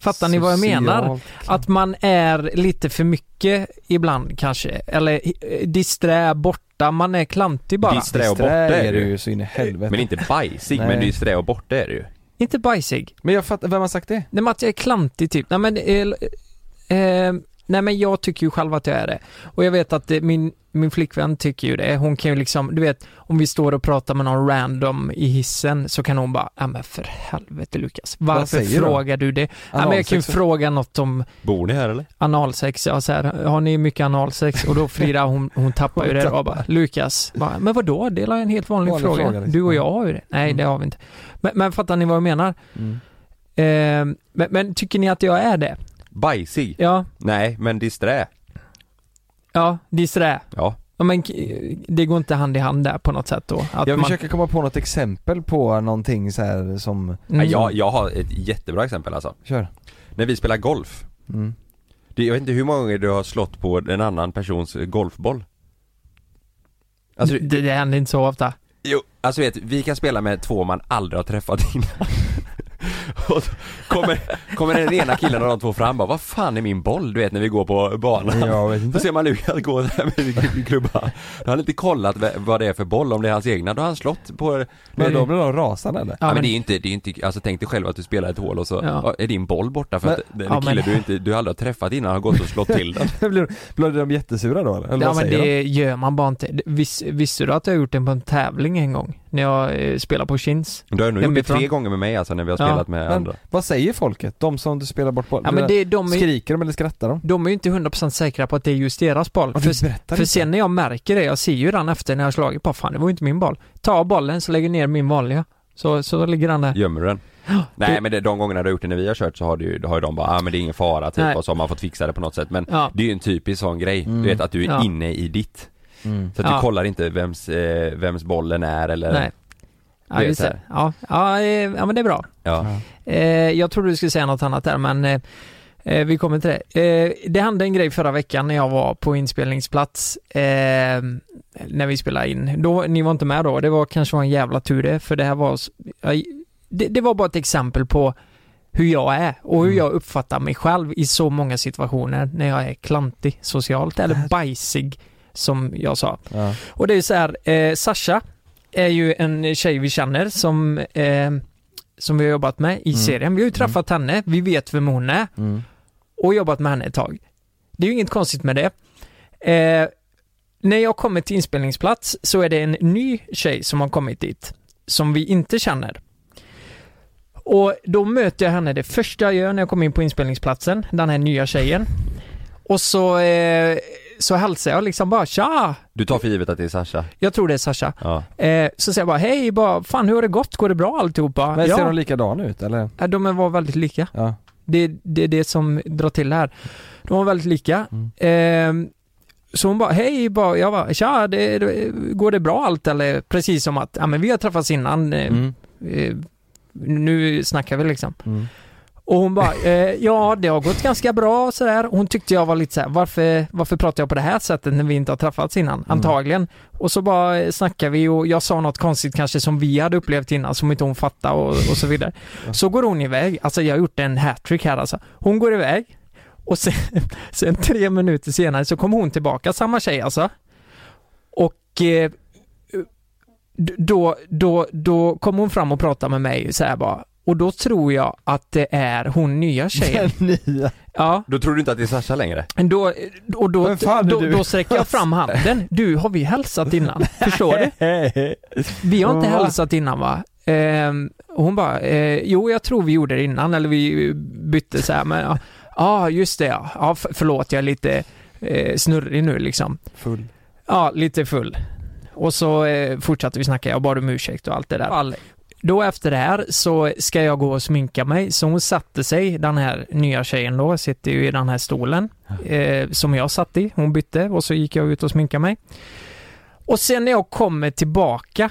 Fattar ni vad jag menar?
Socialt
Att man är lite för mycket ibland kanske, eller eh, disträ, borta, man är klantig bara.
Disträ och borta är du
ju så in i helvete.
Men inte bajsig,
Nej.
men disträ och borta är du ju.
Inte bajsig.
Men jag fattar, vem har sagt det?
Nej men att jag är klantig typ. Nej men, eh, eh, nej men jag tycker ju själv att jag är det. Och jag vet att eh, min, min flickvän tycker ju det. Hon kan ju liksom, du vet, om vi står och pratar med någon random i hissen så kan hon bara, ja men för helvete Lukas,
Vad
varför
säger du då?
frågar du det? Ja men jag kan ju
Analsex?
fråga något om
Bor ni här eller?
analsex, ja så här, har ni mycket analsex? Och då Frida hon, hon tappar ju
Hon
det
tappar.
och bara, Lukas, bara, men vadå? Det är en helt vanlig,
Vanlig
fråga.
fråga, liksom. Mm.
Du och jag har ju det. Nej det har vi inte. Men, men fattar ni vad jag menar? Eh, men, men tycker ni att jag är det?
Bajsig?
Ja.
Nej, men disträ.
Ja, det är sådär.
Ja.
Ja, Men k- det går inte hand i hand där på något sätt då? Att
jag
man,
försöker komma på något exempel på någonting så här som...
Mm.
Ja, jag, jag har ett jättebra exempel alltså.
Kör.
När vi spelar golf.
Mm.
Det, jag vet inte hur många gånger du har slått på en annan persons golfboll. Alltså,
det, det händer inte så ofta.
Jo, alltså vet, vi kan spela med två man aldrig har träffat innan. Och så kommer, kommer den ena killen av de två fram och bara, vad fan är min boll? Du vet när vi går på banan.
Jag vet
Då ser man Lukas gå där med klubban. Då har han inte kollat vä- vad det är för boll, om det är hans egna, då har han slått på...
Men då blir de rasande eller?
Ja, men, det är ju inte, det är ju inte, alltså tänk dig själv att du spelar ett hål och så
Ja.
ja. är din boll borta för
Men-
att den
ja,
kille
men-
du inte, du aldrig har träffat innan har gått och slått till den.
blir, blir de jättesura då eller? eller
Ja
vad
men
säger de?
det gör man bara inte. Det- Vis, visste du att jag har gjort den på en tävling en gång? När jag eh, spelade på Kins.
Du har nog gjort det
Hemifrån.
tre gånger med mig alltså när vi har
Ja,
spelat med
men-
andra.
Vad säger folket? De som du spelar bort bollen?
Ja, men det, de är,
Skriker de eller skrattar de?
De är ju inte 100% säkra på att det är just deras boll.
Ja, du
För,
berättar
för
inte.
sen när jag märker det, jag ser ju den efter när jag har slagit på, fan det var ju inte min boll. Ta bollen så lägger jag ner min vanliga. Så, så ligger den där.
Gömmer du den? Nej men det, de gångerna du har gjort det när vi har kört så har, det ju, då har ju de bara ah, men det är ingen fara typ
Nej.
och så har man fått fixa det på något sätt men
Ja.
det är ju en typisk sån grej,
Mm.
du vet att du är
Ja. Mm.
inne i ditt Så att
Ja.
du kollar inte vems, eh, vems bollen är eller
Nej. Ja,
Du vet
just
så här.
det. Ja, ja, eh, ja, men det är bra.
Ja.
Eh, jag trodde du skulle säga något annat där, men eh, eh, vi kommer till det. Eh, det hände en grej förra veckan när jag var på inspelningsplats, eh, när vi spelade in. Då, ni var inte med då, det var kanske var en jävla tur det, för det här var... s- ja, Det, det var bara ett exempel på hur jag är och
Mm.
hur jag uppfattar mig själv i så många situationer när jag är klantig socialt eller bajsig som jag sa.
Ja.
Och det är så här, eh, Sasha är ju en tjej vi känner som, eh, som vi har jobbat med i
Mm.
serien. Vi har ju träffat henne, vi vet vem hon är
Mm.
och jobbat med henne ett tag. Det är ju inget konstigt med det. Eh, när jag kommer till inspelningsplats så är det en ny tjej som har kommit dit, som vi inte känner. Och då möter jag henne det första jag gör när jag kommer in på inspelningsplatsen, den här nya tjejen. Och så, eh, så hälsar jag liksom bara tja!
Du tar för givet att det är Sasha?
Jag tror det är Sasha.
Ja.
Eh, så säger jag bara hej, bara, fan hur har det gått? Går det bra alltihopa?
Men ser de likadana ut eller?
Ja, de var väldigt lika.
Ja. Mm.
Det är det, är det som drar till här. De var väldigt lika. Eh, Så hon bara, hej, bara, jag bara, tja, det, det, går det bra allt eller? Precis som att, ja men vi har träffats innan,
Mm.
eh, eh, nu snackar vi liksom. Och hon bara, eh, ja det har gått ganska bra och sådär. Hon tyckte jag var lite såhär, varför, varför pratar jag på det här sättet när vi inte har träffats innan? Antagligen. Och så bara eh, snackar vi och jag sa något konstigt kanske som vi hade upplevt innan som inte hon fattade och, och så vidare. Så går hon iväg, alltså jag har gjort en hattrick här alltså. Hon går iväg och sen, sen tre minuter senare så kom hon tillbaka, samma tjej alltså. Och eh, d- då, då, då kom hon fram och pratade med mig så här bara. Och då tror jag att det är hon nya tjejen.
nya.
Ja.
Då tror du inte att det är Sasha längre?
Då, och då,
fan är
då,
du?
då sträcker jag fram handen. Du, har vi hälsat innan? Förstår du?
Mm.
Vi har inte
Va?
hälsat innan va? Ehm, och hon bara, eh, jo jag tror vi gjorde det innan, eller vi bytte så här, men ja, ah, just det ja. Ah, f- förlåt, jag är lite eh, snurrig nu liksom.
Full.
Ja, lite full. Och så eh, fortsatte vi snacka, jag bad om ursäkt och allt det där. Då efter det här så ska jag gå och sminka mig, så hon satte sig, den här nya tjejen då, sitter ju i den här stolen eh, som jag satt i, hon bytte och så gick jag ut och sminkade mig. Och sen när jag kommer tillbaka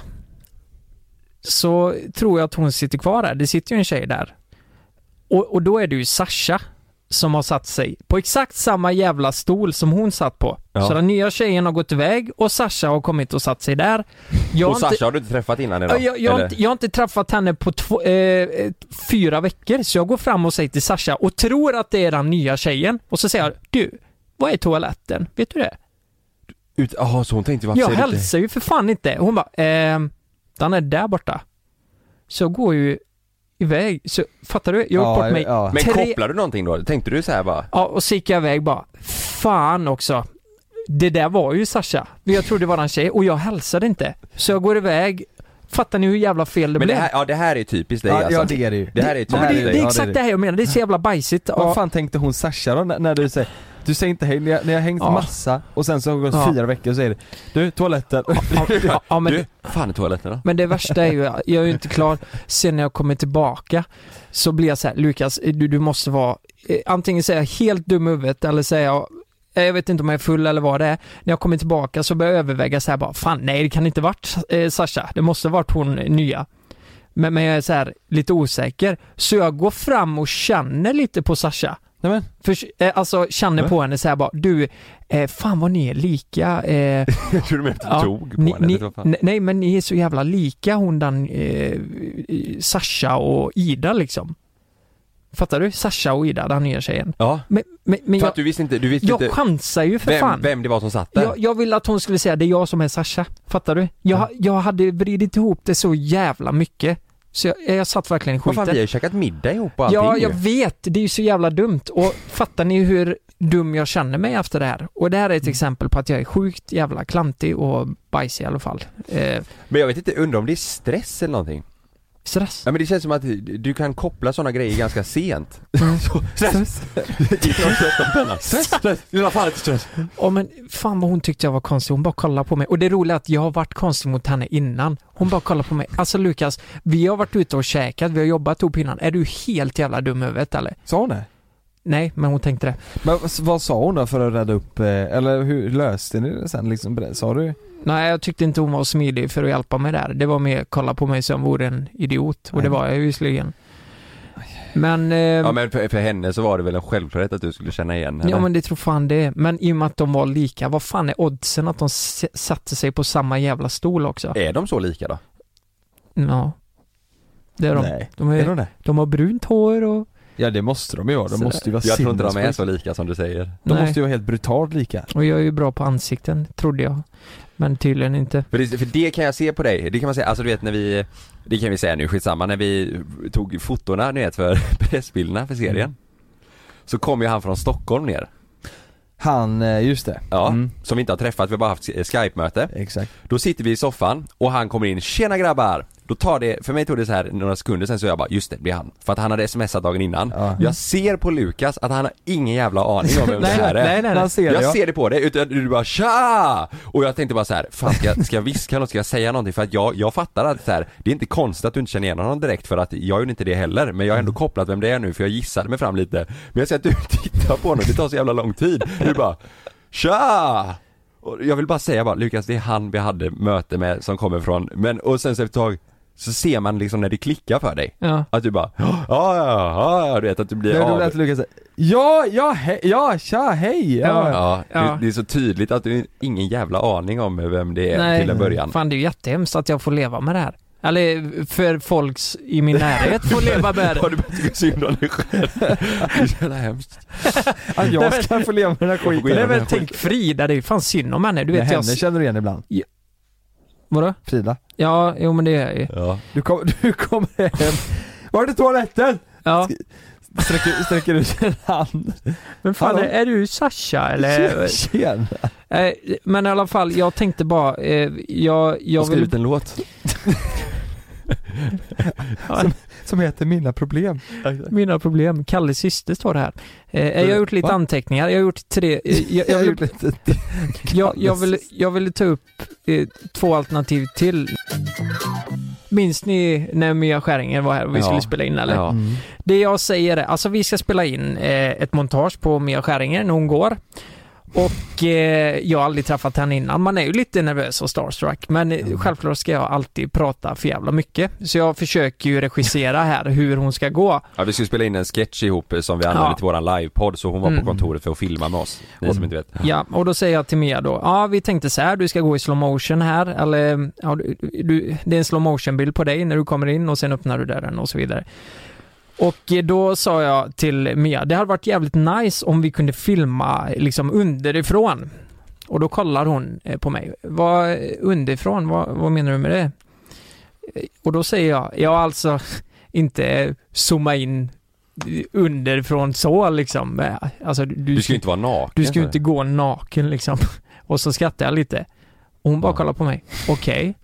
så tror jag att hon sitter kvar där, det sitter ju en tjej där. Och, och då är det ju Sasha som har satt sig på exakt samma jävla stol som hon satt på.
Ja.
Så den nya tjejen har gått iväg och Sasha har kommit och satt sig där. Jag
och
har inte-
Sasha har du inte träffat innan idag?
jag, jag, jag, har
Eller?
inte, jag har inte träffat henne på två, eh, eh, fyra veckor, så jag går fram och säger till Sasha och tror att det är den nya tjejen. Och så säger jag, du, vad är toaletten? Vet du det?
Ut, aha, så hon tänkte varför
jag
säger du
hälsar ju för fan inte. Hon bara, ehm, den är där borta. Så jag går ju iväg, så fattar du? Jag har gjort bort mig
Men
tre-
kopplade du någonting då? Tänkte du så här bara?
Ja, och så gick jag iväg bara, fan också. Det där var ju Sasha. Men jag trodde det var en tjej och jag hälsade inte. Så jag går iväg, fattar ni hur jävla fel det
Men det
blev?
här, ja det här är typiskt dig
Ja,
alltså.
ja, det är det ju.
Det här är
Ja,
typiskt
men det, det
dig.
är exakt det här jag menar, det är så jävla bajsigt.
Vad
Ja.
fan tänkte hon Sasha då när, när du säger du säger inte hej, ni har, ni har hängt
Ja.
massa och sen så har det gått
Ja.
fyra veckor och säger du, du toaletten.
Ja, ja, men, det,
Fan i toaletten då?
men det värsta är ju, jag är ju inte klar. Sen när jag kommer tillbaka så blir jag så här, Lukas, du, du måste vara, eh, antingen säga helt dum i huvudet eller säga eh, jag vet inte om jag är full eller vad det är. När jag kommer tillbaka så börjar jag överväga så här bara, fan nej det kan inte varit eh, Sasha, det måste varit hon eh, nya. Men, men jag är så här lite osäker. Så jag går fram och känner lite på Sasha.
Nämen.
För, eh, alltså känner på henne så här bara, du, eh, fan vad ni är lika. Eh,
Jag tror du menade att du tog på
ni,
henne.
ni,
eller vad fan.
ne- Nej men ni är så jävla lika hon den eh, Sasha och Ida liksom. Fattar du? Sasha och Ida, den nya tjejen.
Ja.
Men, men, men
för
jag,
att du visste inte, du visste
jag
inte
chansar ju för
vem,
fan.
vem det var som satt där.
Jag, jag ville att hon skulle säga det är jag som är Sasha. Fattar du? Jag, jag hade vridit ihop det så jävla mycket. Så jag, jag satt verkligen i
Vad
skiten.
fan vi har ju käkat middag ihop och allting
Ja,
ju.
jag vet. Det är ju så jävla dumt. Och fattar ni hur dum jag känner mig efter det här? Och det här är
Mm.
ett exempel på att jag är sjukt jävla klantig och bajsig i alla fall. Eh,
Men jag vet inte, undrar om det är stress eller någonting?
Stress?
Ja men det känns som att du kan koppla sådana grejer ganska sent. Så, stress! Stress! Stress! Du har fan inte stress!
ja men fan vad hon tyckte jag var konstig. Hon bara kollade på mig. Och det roliga är att jag har varit konstig mot henne innan. Hon bara kollade på mig. Alltså Lukas, vi har varit ute och käkat, vi har jobbat ihop innan. Är du helt jävla dum i huvudet eller?
Sa hon det?
Nej, men hon tänkte det.
Men vad- vad sa hon då för att rädda upp, eh, eller hur löste ni det sen liksom? Sa du?
Nej, jag tyckte inte hon var smidig för att hjälpa mig där. Det var mer kolla på mig som vore en idiot. Och det var jag ju visserligen. Men... Eh,
Ja men för, för henne så var det väl en självklarhet att du skulle känna igen henne?
Ja men det tror fan det. Men i och med att de var lika, vad fan är oddsen att de s- satte sig på samma jävla stol också?
Är de så lika då?
Ja. Det är de.
Nej.
De, är,
Är de det?
de har brunt hår och...
Ja det måste de ju vara, de
Sådär.
måste ju vara
Jag tror inte de är
sinnessjuka.
så lika som du säger.
De
Nej.
måste ju vara helt brutalt lika.
Och jag är ju bra på ansikten, trodde jag. Men tydligen inte.
För det, för det kan jag se på dig, det kan man säga, alltså du vet när vi, det kan vi säga nu, skitsamma, när vi tog fotona ni vet för pressbilderna för
Mm.
serien. Så kom ju han från Stockholm ner.
Han, eh, just det.
Ja,
Mm.
som vi inte har träffat, vi har bara haft skype-möte.
Exakt.
Då sitter vi i soffan och han kommer in, tjena grabbar! Då tar det, för mig tog det så här några sekunder sen så jag bara, just det, det är han. För att han hade smsat dagen innan. Jag ser på Lukas att han har ingen jävla aning om vem det
Mm. Nej,
här är.
nej, nej, nej.
Jag
Han ser det, ja.
ser det på dig, utan du bara tja! Och jag tänkte bara så här, fan ska, jag- ska jag viska något, ska jag säga någonting? För att jag, jag fattar att så här, det är inte konstigt att du inte känner igen honom direkt för att jag gjorde inte det heller. Men jag har ändå
Mm.
kopplat vem det är nu för jag gissade mig fram lite. Men jag ser att du tittar på honom, det tar så jävla lång tid. Du bara, tja! Och jag vill bara säga bara, Lukas det är han vi hade möte med som kommer från, men och sen så efter ett tag så ser man liksom när det klickar för dig.
Ja.
Att du bara, ja ja, ja ja, du vet att du blir
Det är
av.
roligt att Lukas säger, ja, ja, he- ja, tja, hej!
Ja,
Ja.
ja. Det, det är så tydligt att du ingen jävla aning om vem det är till en början.
Fan det är ju jättehemskt att jag får leva med det här. Eller för folks i min närhet får leva med det.
Har du börjat tycka synd om dig själv? Det är så jävla hemskt.
Att
Nej,
jag
men-
ska få leva med den här skiten.
Nej men tänk Frida, det är ju fan synd om henne. Du
Men
vet jag...
henne känner du igen ibland?
Vadå?
Frida?
Ja, jo men det är jag ju.
Ja.
Du kommer du kom hem, var är toaletten?
Ja.
Sträcker, sträcker ut en hand.
Men fan,
Hallå?
är du Sasha eller?
Tjena!
Eh, Men i alla fall, jag tänkte bara, eh, jag...
Jag
jag
har skrivit
vill...
en låt.
Som, som heter Mina problem.
Mina problem, Kalles syster står det här. Eh, Jag har gjort lite
Va?
anteckningar, jag har gjort tre... eh, Jag,
Jag har
jag,
gjort
vill,
lite
jag, jag, vill, jag ville ta upp eh, två alternativ till. Minns ni när Mia Skäringer var här och vi
Ja.
skulle spela in eller?
Ja. Mm.
Det jag säger är, alltså vi ska spela in eh, ett montage på Mia Skäringer när hon går. Och eh, jag har aldrig träffat henne innan. Man är ju lite nervös och starstruck. Men eh,
Mm.
självklart ska jag alltid prata för jävla mycket. Så jag försöker ju regissera här hur hon ska gå.
Ja, vi skulle spela in en sketch ihop eh, som vi använde
Ja.
till våran livepodd så hon var
Mm.
på kontoret för att filma med oss. Ni som inte vet.
Ja, och då säger jag till Mia då, ja vi tänkte så här, du ska gå i slow motion här, eller ja, du, du, det är en slow motion bild på dig när du kommer in och sen öppnar du dörren och så vidare. Och eh, då sa jag till Mia, det hade varit jävligt nice om vi kunde filma liksom underifrån. Och då kollar hon eh, på mig, vad eh, underifrån, vad, vad menar du med det? Eh, Och då säger jag, ja alltså inte zooma in underifrån så liksom. Eh, Alltså, du,
Du ska ju inte vara naken.
du ska ju
så.
inte gå naken liksom. Och så skrattar jag lite. Och hon bara kollar på mig. Okej.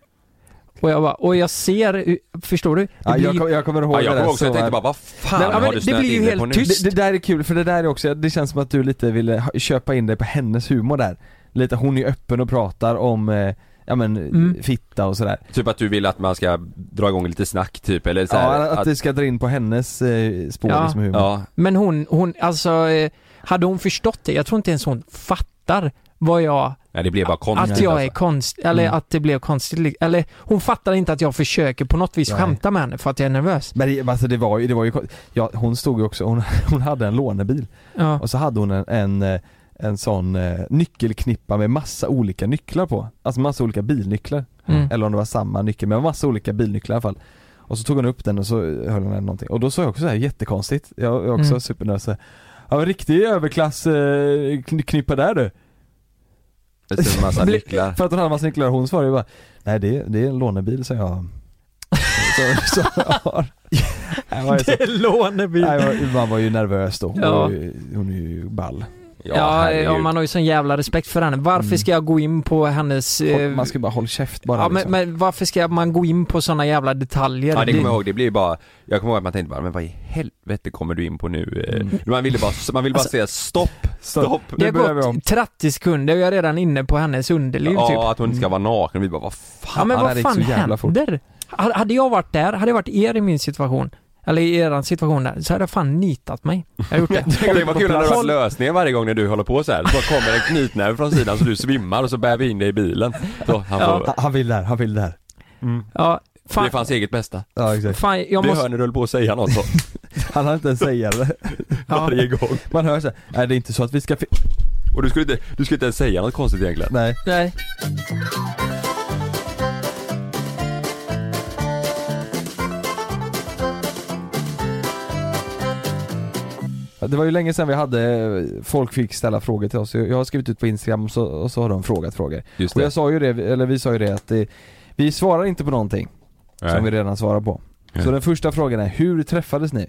Och jag bara, och jag ser, förstår du? Det
Ja, jag, kom, jag kommer ihåg
Ja, jag
det
kommer
där
också, jag
så
tänkte
här-
bara vad fan
Nej, men
har du
det
snöat
blir ju
in dig
helt
på nu?
tyst.
Det, det där är kul för det där är också, det känns som att du lite ville ha- köpa in dig på hennes humor där. Lite, hon är öppen och pratar om, eh, ja men,
Mm.
fitta och sådär.
Typ att du vill att man ska dra igång lite snack typ eller så här,
Ja, att, det ska dra in på hennes eh, spår
Ja.
liksom humor.
Ja,
Men hon, hon, alltså, eh, hade hon förstått det? Jag tror inte ens hon fattar vad jag,
nej det blev bara konstigt
att jag är
alltså.
konst, eller
Mm.
att det blev konstigt. li- Eller hon fattar inte att jag försöker på något vis
Nej.
skämta med henne för att jag är nervös.
Men det, alltså det var ju, det var ju kon- ja, hon stod ju också, hon, hon hade en lånebil
Ja.
och så hade hon en, en, eh, en sån eh, nyckelknippa med massa olika nycklar på. Alltså massa olika bilnycklar.
Mm.
Eller om det var samma nyckel, men massa olika bilnycklar i alla fall. Och så tog hon upp den och så höll hon den någonting. Och då sa jag också så här jättekonstigt, jag var också
Mm.
supernervös så här, Ja en riktig överklass eh, kn- knippa där du.
Det är en massa
Bli-
nycklar.
För att hon hade en massa nycklar och hon svarade ju bara Nej det, är- det är en lånebil som jag som, som jag har. Jag var ju så-
Lånebil.
Nej, jag var- man var ju nervös då, hon,
Ja.
var ju, hon är ju ball.
Ja,
herregud.
ja, man har ju sån jävla respekt för henne. Varför ska jag gå in på hennes... eh,
Håll, Mm. man ska bara hålla käft bara
Ja, men,
liksom.
men varför ska man gå in på sådana jävla detaljer?
Ja det kommer jag ihåg, det blir bara, jag kommer ihåg att man tänkte bara men vad i helvete kommer du in på nu? Eh, Man ville bara, man ville bara säga stopp, stopp!
Mm. Alltså- det har
Nu börjar vi om.
gått 30 sekunder och jag är redan inne på hennes underliv
Ja,
typ.
att hon inte ska vara naken, vi bara vad fan? liksom-
Ja men
det här
vad
gick så
fan
jävla fort.
händer? Hade hade jag varit där, hade jag varit er i min situation, eller i eran situation där, så hade jag fan nitat mig. Jag har gjort det.
Tänk dig vad kul när det hade varit
Håll-
lösningar varje gång när du håller på så här. så bara kommer en knytnäve från sidan så du svimmar och så bär vi in dig i bilen. Så han får,
Han- Han vill det här, han vill det här.
Ja,
det
fan,
är för hans eget bästa.
Ja exakt.
fan jag
vi
måste...
hör när du håller på att säga något så,
Han har inte ens säga det.
varje gång.
Man hör såhär, nej det är inte så att vi ska fi-"
Och du skulle inte, du skulle inte ens säga något konstigt egentligen.
Nej.
Nej.
Det var ju länge sedan vi hade, folk fick ställa frågor till oss. Jag har skrivit ut på Instagram och så, och så har de frågat frågor.
Just
Och
det.
jag sa ju det, eller vi sa ju det att det, vi svarar inte på någonting
Nej.
som vi redan svarar på.
Nej.
Så den första frågan är, hur träffades ni?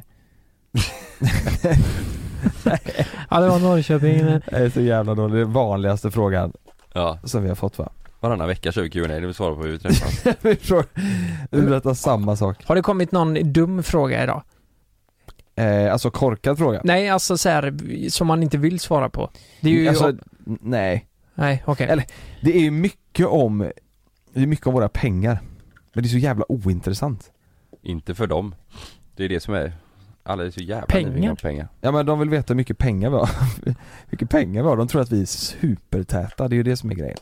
Ja, det var Norrköping.
Det är så jävla dåligt, det är den vanligaste frågan
Ja,
som vi har fått va?
varannan vecka kör vi Q&A, det vill svara på hur vi träffas.
Vi frågar- vi berättar samma sak.
Har det kommit någon dum fråga idag?
Eh, alltså korkad fråga?
Nej, alltså så här, som man inte vill svara på. Det är ju...
alltså, nej.
Nej, okej.
Eller- Det är ju mycket om, det är mycket om våra pengar. Men det är så jävla ointressant.
inte för dem. Det är det som är Alla är så jävla
Pengar.
nyfikna på pengar.
Ja men de vill veta hur mycket pengar vi har. Hur mycket pengar vi har. De tror att vi är supertäta, det är ju det som är grejen.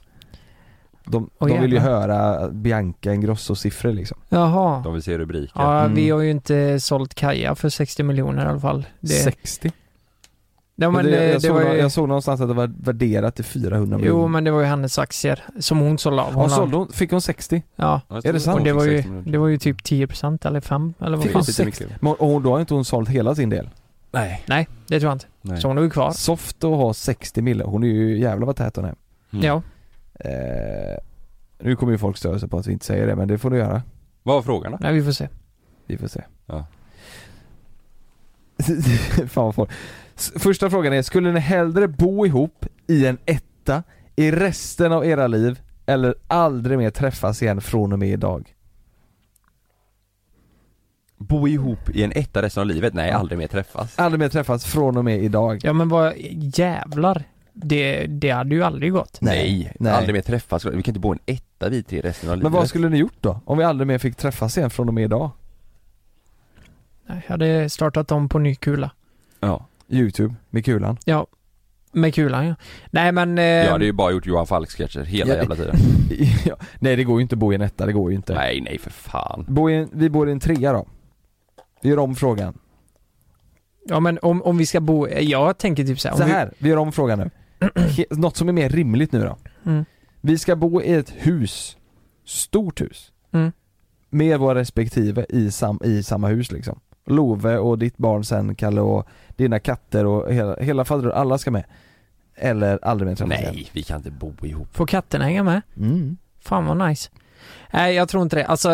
De,
Åh,
de vill ju
jävlar.
höra Bianca Ingrosso-siffror liksom.
Jaha.
De vill se rubriker.
Ja, vi
mm.
har ju inte sålt Kaja för 60 miljoner i alla fall. Det...
60?
Ja, men
Och
det,
det, jag,
det
såg,
var
nå-
ju...
jag såg någonstans att det var värderat till 400
Jo,
miljoner.
men det var ju hennes aktier som hon sålde av.
Ja,
har-
sålde hon, fick hon 60?
Ja.
Är det sant?
Och det var ju, det var ju typ 10% eller 5 eller vad
Fick
fan.
hon 60? Men och då har ju inte hon sålt hela sin del? Nej.
Nej, det tror jag inte.
Nej.
Så hon är ju kvar.
Soft att ha 60 mille, hon är ju jävla vad tät hon är.
Mm.
Ja.
Eh, nu kommer ju folk störa sig på att vi inte säger det, men det får du göra.
Vad var frågan då?
Nej, vi får se.
Vi får se.
Ja.
Fan vad folk. S- Första frågan är, skulle ni hellre bo ihop i en etta i resten av era liv eller aldrig mer träffas igen från och med idag?
Bo ihop i en etta resten av livet? Nej, aldrig mer träffas.
Aldrig mer träffas från och med idag.
Ja, men vad jävlar. Det, det hade ju aldrig gått.
Nej,
nej.
aldrig mer träffas. Vi kan inte bo i en etta vi tre resten av livet.
Men vad skulle ni gjort då? Om vi aldrig mer fick träffas igen från och med idag?
Jag hade startat om på ny kula.
Ja.
Youtube, med kulan.
Ja. Med kulan ja. Nej men... Eh,
Jag hade ju bara gjort Johan Falk-sketcher hela
Ja,
jävla tiden.
Ja, nej det går ju inte att bo i en etta, det går ju inte.
Nej, nej för fan.
Bo i en, vi bor i en trea då. Vi gör om frågan.
Ja men om, om vi ska bo... Jag tänker typ så här. om
Så här, vi gör om frågan nu. He- Något som är mer rimligt nu då.
Mm.
Vi ska bo i ett hus, stort hus,
Mm.
med våra respektive i, sam, i samma hus liksom. Love och ditt barn sen, Kalle och dina katter och hela, hela fader, alla ska med. Eller aldrig mer träffas igen.
Nej, vi kan inte bo ihop.
Vi, får katterna hänga med?
Mm.
Fan vad nice. Nej jag tror inte det. Alltså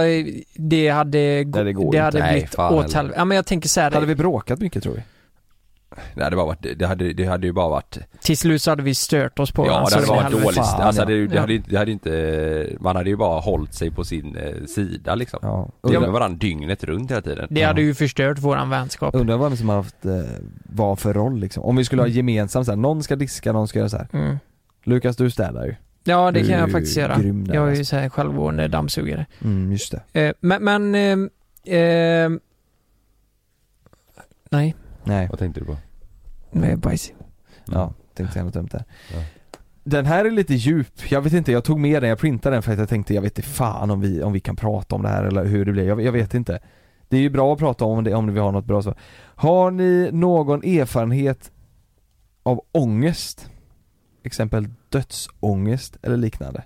det hade... gå-
Nej, det går
det
inte.
hade
Nej,
blivit
fan
åt
heller.
helvete. Ja men jag tänker så här.
Hade vi bråkat mycket tror vi?
Det hade bara varit, det hade, det hade ju bara varit
Till slut så hade vi stört oss på
Ja
varandra,
det hade
så
varit dåligt,
Fan,
alltså, det,
ja.
det, hade, ju- det hade ju inte, man hade ju bara hållit sig på sin eh, sida liksom.
Ja.
Det var varandra dygnet runt hela tiden.
Det hade ju förstört våran vänskap.
Undrar vad som har haft, eh, vad för roll liksom. Om vi skulle ha gemensamt såhär, någon ska diska, någon ska göra såhär.
Mm.
Lukas du städar ju.
Ja det
Du
kan
är
jag
ju
faktiskt göra.
grym där,
Jag är ju
alltså.
så här självgående dammsugare.
Mm, just det.
Eh, men, men eh, eh, Nej,
Nej.
Vad tänkte du på? Mm.
nu är jag bajsig.
Ja, tänkte säga något dumt där.
Ja.
Den här är lite djup, jag vet inte, jag tog med den, jag printade den för att jag tänkte jag vet inte fan om vi, om vi kan prata om det här eller hur det blir, jag, jag vet inte. Det är ju bra att prata om det om vi har något bra svar. Har ni någon erfarenhet av ångest? Exempel dödsångest eller liknande?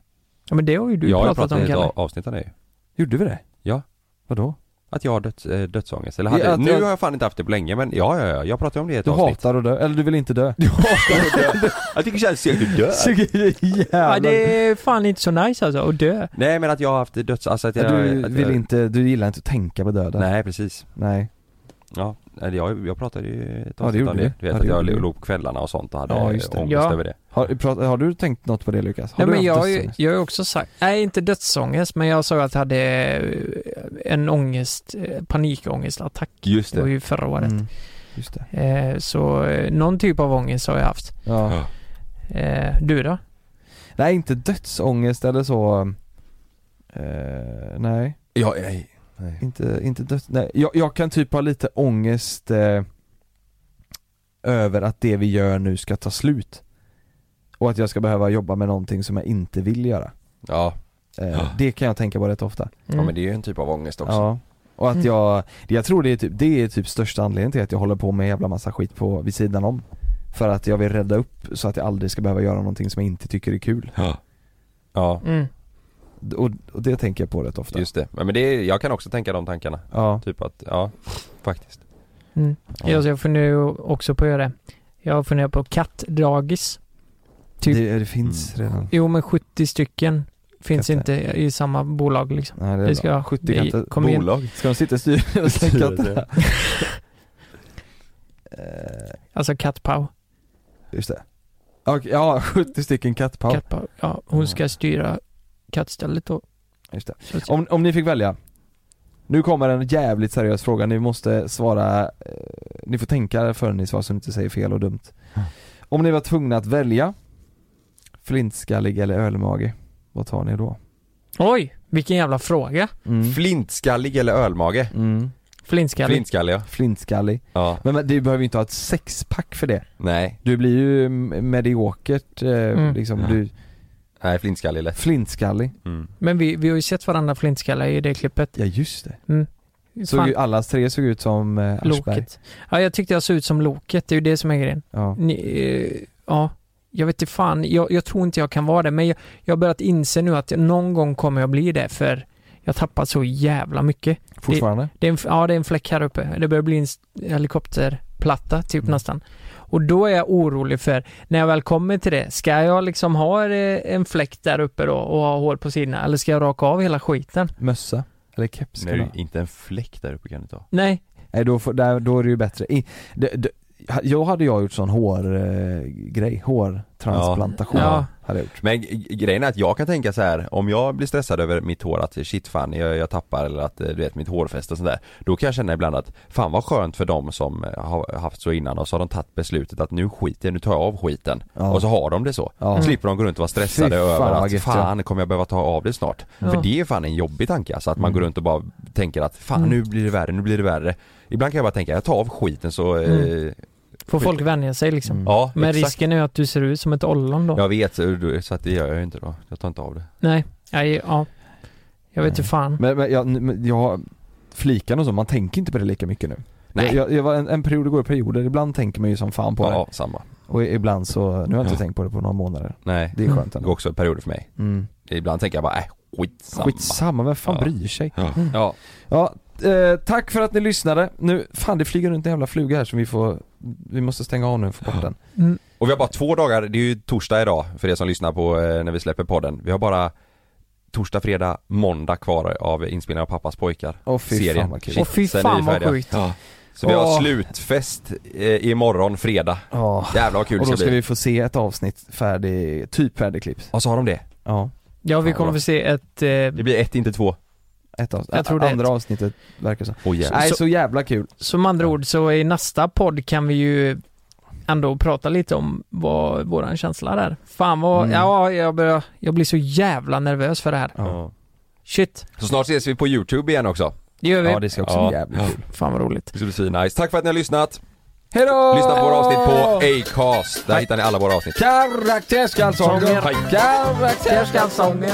Ja men det har ju du
ja, jag
pratat
pratade
om
i ett
Kalle.
a- avsnitt om det ju.
Gjorde vi det?
Ja.
Vadå?
Att jag har döds, eh, dödsångest, eller hade,
Ja, att
nu
jag-
har jag fan inte haft det på länge men ja, ja, ja jag pratade om det i ett
Du
avsnitt.
hatar att dö, eller du vill inte dö?
Jag tycker det känns segt att dö.
Ja, det är fan inte så nice alltså att dö.
Nej men att jag har haft döds, alltså att jag,
Du
att
vill
jag,
inte, du gillar inte att tänka på döden?
Nej precis.
Nej.
Ja, eller jag, jag pratade ju i ett
Ja, det
avsnitt om
gjorde
det.
vi.
Du
Ja,
vet att
det
jag
gjorde vi.
låg på kvällarna och sånt och hade
Ja,
ja,
just
ångest
det.
Ja.
över det.
Har, prat- har du tänkt något på det Lukas? Har
Nej,
du
men
haft
jag, har ju-
dödsångest?
jag har ju också sagt, nej inte dödsångest men jag sa att jag hade eh, en ångest, eh, panikångestattack.
Just
Det var
det.
ju förra året.
Mm. Just det.
Eh, så eh, någon typ av ångest har jag haft.
Ja.
Eh, du då?
Nej inte dödsångest eller så eh, Nej,
Ja, nej. nej.
inte, inte döds... Nej. Jag, jag kan typ ha lite ångest eh, över att det vi gör nu ska ta slut och att jag ska behöva jobba med någonting som jag inte vill göra
Ja,
eh,
Ja.
Det kan jag tänka på rätt ofta
ja men det är ju en typ av ångest också.
Ja, och att
Mm.
jag, det- jag tror det är typ, det är typ största anledningen till att jag håller på med en jävla massa skit på, vid sidan om För att jag vill rädda upp så att jag aldrig ska behöva göra någonting som jag inte tycker är kul
Ja. Ja,
Mm.
D- och, och det tänker jag på rätt ofta
just det. Ja, Men det, är- jag kan också tänka de tankarna.
Ja,
Typ att, ja, faktiskt.
Mm.
Ja.
Ja, så jag funderar ju också på att göra det. Jag funderar på kattdagis. Typ-
det, det
Mm.
finns redan
Jo, men 70 stycken finns
Katter.
inte i samma bolag liksom.
Nej, det är bra.
Vi ska
70
vi
katter.
kommer in.
Ska de sitta i styrelsen?
Styrelse.
Katterna?
Alltså kattpau.
Eh, Just det. Okej, ja, 70 stycken kattpaus.
kattpau. Ja, hon ska styra kattstället då.
Just det.
Så att-
Om, om ni fick välja. Nu kommer en jävligt seriös fråga, ni måste svara, eh, ni får tänka förrän ni svarar så ni inte säger fel och dumt. Om ni var tvungna att välja, flintskallig eller ölmage, vad tar ni då?
Oj, vilken jävla fråga.
Mm.
Flintskallig eller ölmage?
Mm.
Flintskallig.
Flintskallig ja.
Flintskallig. Men, men du behöver ju inte ha ett sexpack för det.
Nej.
Du blir ju m- mediokert eh,
Mm.
liksom.
Ja.
Du,
Nej, flintskallig är lätt.
flintskallig.
Mm.
Men vi, vi har ju sett varandra flintskallar i det klippet.
Ja just det.
Mm.
Såg
Fan.
ju, alla tre såg ut som eh, Aschberg.
Loket. Ja, jag tyckte jag såg ut som Loket. Det är ju det som är grejen.
Ja.
Ni, eh, ja. Jag vet inte fan, jag, jag tror inte jag kan vara det, men jag, jag har börjat inse nu att någon gång kommer jag bli det för jag tappar så jävla mycket.
Fortfarande?
Det, det är en, ja, det är en fläck här uppe. Det börjar bli en s- helikopterplatta
Mm.
typ nästan. Och då är jag orolig för, när jag väl kommer till det, ska jag liksom ha eh, en fläck där uppe då och ha hår på sidorna eller ska jag raka av hela skiten?
Mössa? Eller keps? ska man
Nej,
ha.
inte en fläck där uppe kan du ta.
Nej.
Nej då, får, där, då är det ju bättre. I, det, det, jag hade jag gjort sån hårgrej, hårtransplantation.
Ja.
Hade jag gjort.
Men g- grejen är att jag kan tänka så här, om jag blir stressad över mitt hår att shit fan jag, jag tappar eller att eh, du vet mitt hårfäste och sådär Då kan jag känna ibland att fan vad skönt för dem som eh, har haft så innan och så har de tagit beslutet att nu skiter jag, nu tar jag av skiten
Ja.
Och så har de det så,
Ja.
slipper de gå runt och vara stressade
Fy fan,
över
vad
att
gött,
fan kommer jag behöva ta av det snart
Ja.
För det är fan en jobbig tanke alltså att man
Mm.
går runt och bara tänker att fan
Mm.
nu blir det värre, nu blir det värre Ibland kan jag bara tänka, jag tar av skiten så eh,
Mm. Får folk vänja sig liksom?
Ja,
Men
Mm. exakt.
risken är ju att du ser ut som ett ollon då.
Jag vet, så så att det gör jag ju inte då, jag tar inte av det
Nej, nej, ja. Jag vet inte fan.
Men, men jag, men jag flikan och så, man tänker inte på det lika mycket nu.
Nej.
Jag, jag var en, en period, det går i perioder, ibland tänker man ju som fan på det.
Ja, samma
Och i- ibland så, nu har jag inte
Ja.
tänkt på det på några månader.
Nej,
Det är skönt
det
ändå.
går också perioder för mig
Mm.
Ibland tänker jag bara, äh, skitsamma
Skitsamma, vem fan
Ja.
bryr sig?
Ja,
Mm.
ja.
Ja, eh, tack för att ni lyssnade. Nu, fan det flyger runt en jävla fluga här som vi får, vi måste stänga av nu och få bort den.
Och vi har bara två dagar, det är ju torsdag idag för er som lyssnar på eh, när vi släpper podden Vi har bara torsdag, fredag, måndag kvar av inspelningen av Pappas pojkar
Åh, fy fan vad kul. Åh,
fy
sen är
fan
vi
vad
färdiga.
sjukt.
ja. Så vi har
Åh.
slutfest eh, imorgon fredag
Ja.
Jävlar vad kul
Och
det
då
ska
ska
bli
vi få se ett avsnitt färdig, typ färdigklippt.
Ja så har de det?
Ja.
Ja, vi
Fan,
kommer
bra.
få se ett... Eh,
Det blir ett, inte två
Ett avsnitt.
Jag tror det är
Andra
ett.
avsnittet verkar så.
Åh jävlar
Nej,
Så-
så jävla kul.
som andra ord så i nästa podd kan vi ju ändå prata lite om vad våran känsla där. Fan vad...
Mm.
Ja, jag, börjar, jag blir så jävla nervös för det här.
Ja.
Shit,
Så snart ses vi på youtube igen också
det gör vi.
Ja, det ska också
Ja.
bli jävligt kul.
Fan vad roligt.
Det ska bli nice. Tack för att ni har lyssnat!
Hejdå!
Lyssna på våra avsnitt på Acast, där hittar ni alla våra avsnitt
Karaktärskalsonger!
Hej.
Karaktärskalsonger!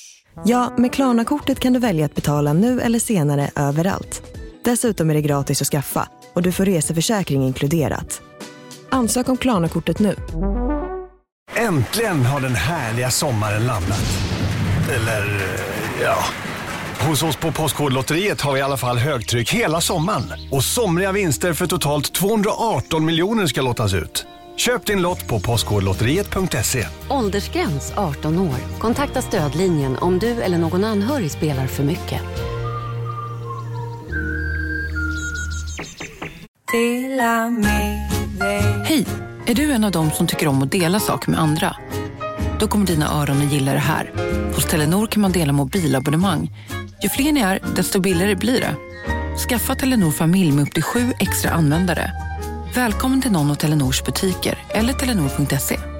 Ja, med Klarna-kortet kan du välja att betala nu eller senare överallt. Dessutom är det gratis att skaffa och du får reseförsäkring inkluderat. Ansök om Klarna-kortet nu.
Äntligen har den härliga sommaren landat. Eller, ja. Hos oss på Postkodlotteriet har vi i alla fall högtryck hela sommaren. Och somriga vinster för totalt 218 miljoner ska lottas ut. Köp din lott på postkodlotteriet.se.
Åldersgräns 18 år. Kontakta stödlinjen om du eller någon anhörig spelar för mycket.
Hej! Är du en av dem som tycker om att dela saker med andra? Då kommer dina öron att gilla det här. Hos Telenor kan man dela mobilabonnemang. Ju fler ni är, desto billigare blir det. Skaffa Telenor familj med upp till sju extra användare. Välkommen till någon av Telenors butiker eller telenor.se.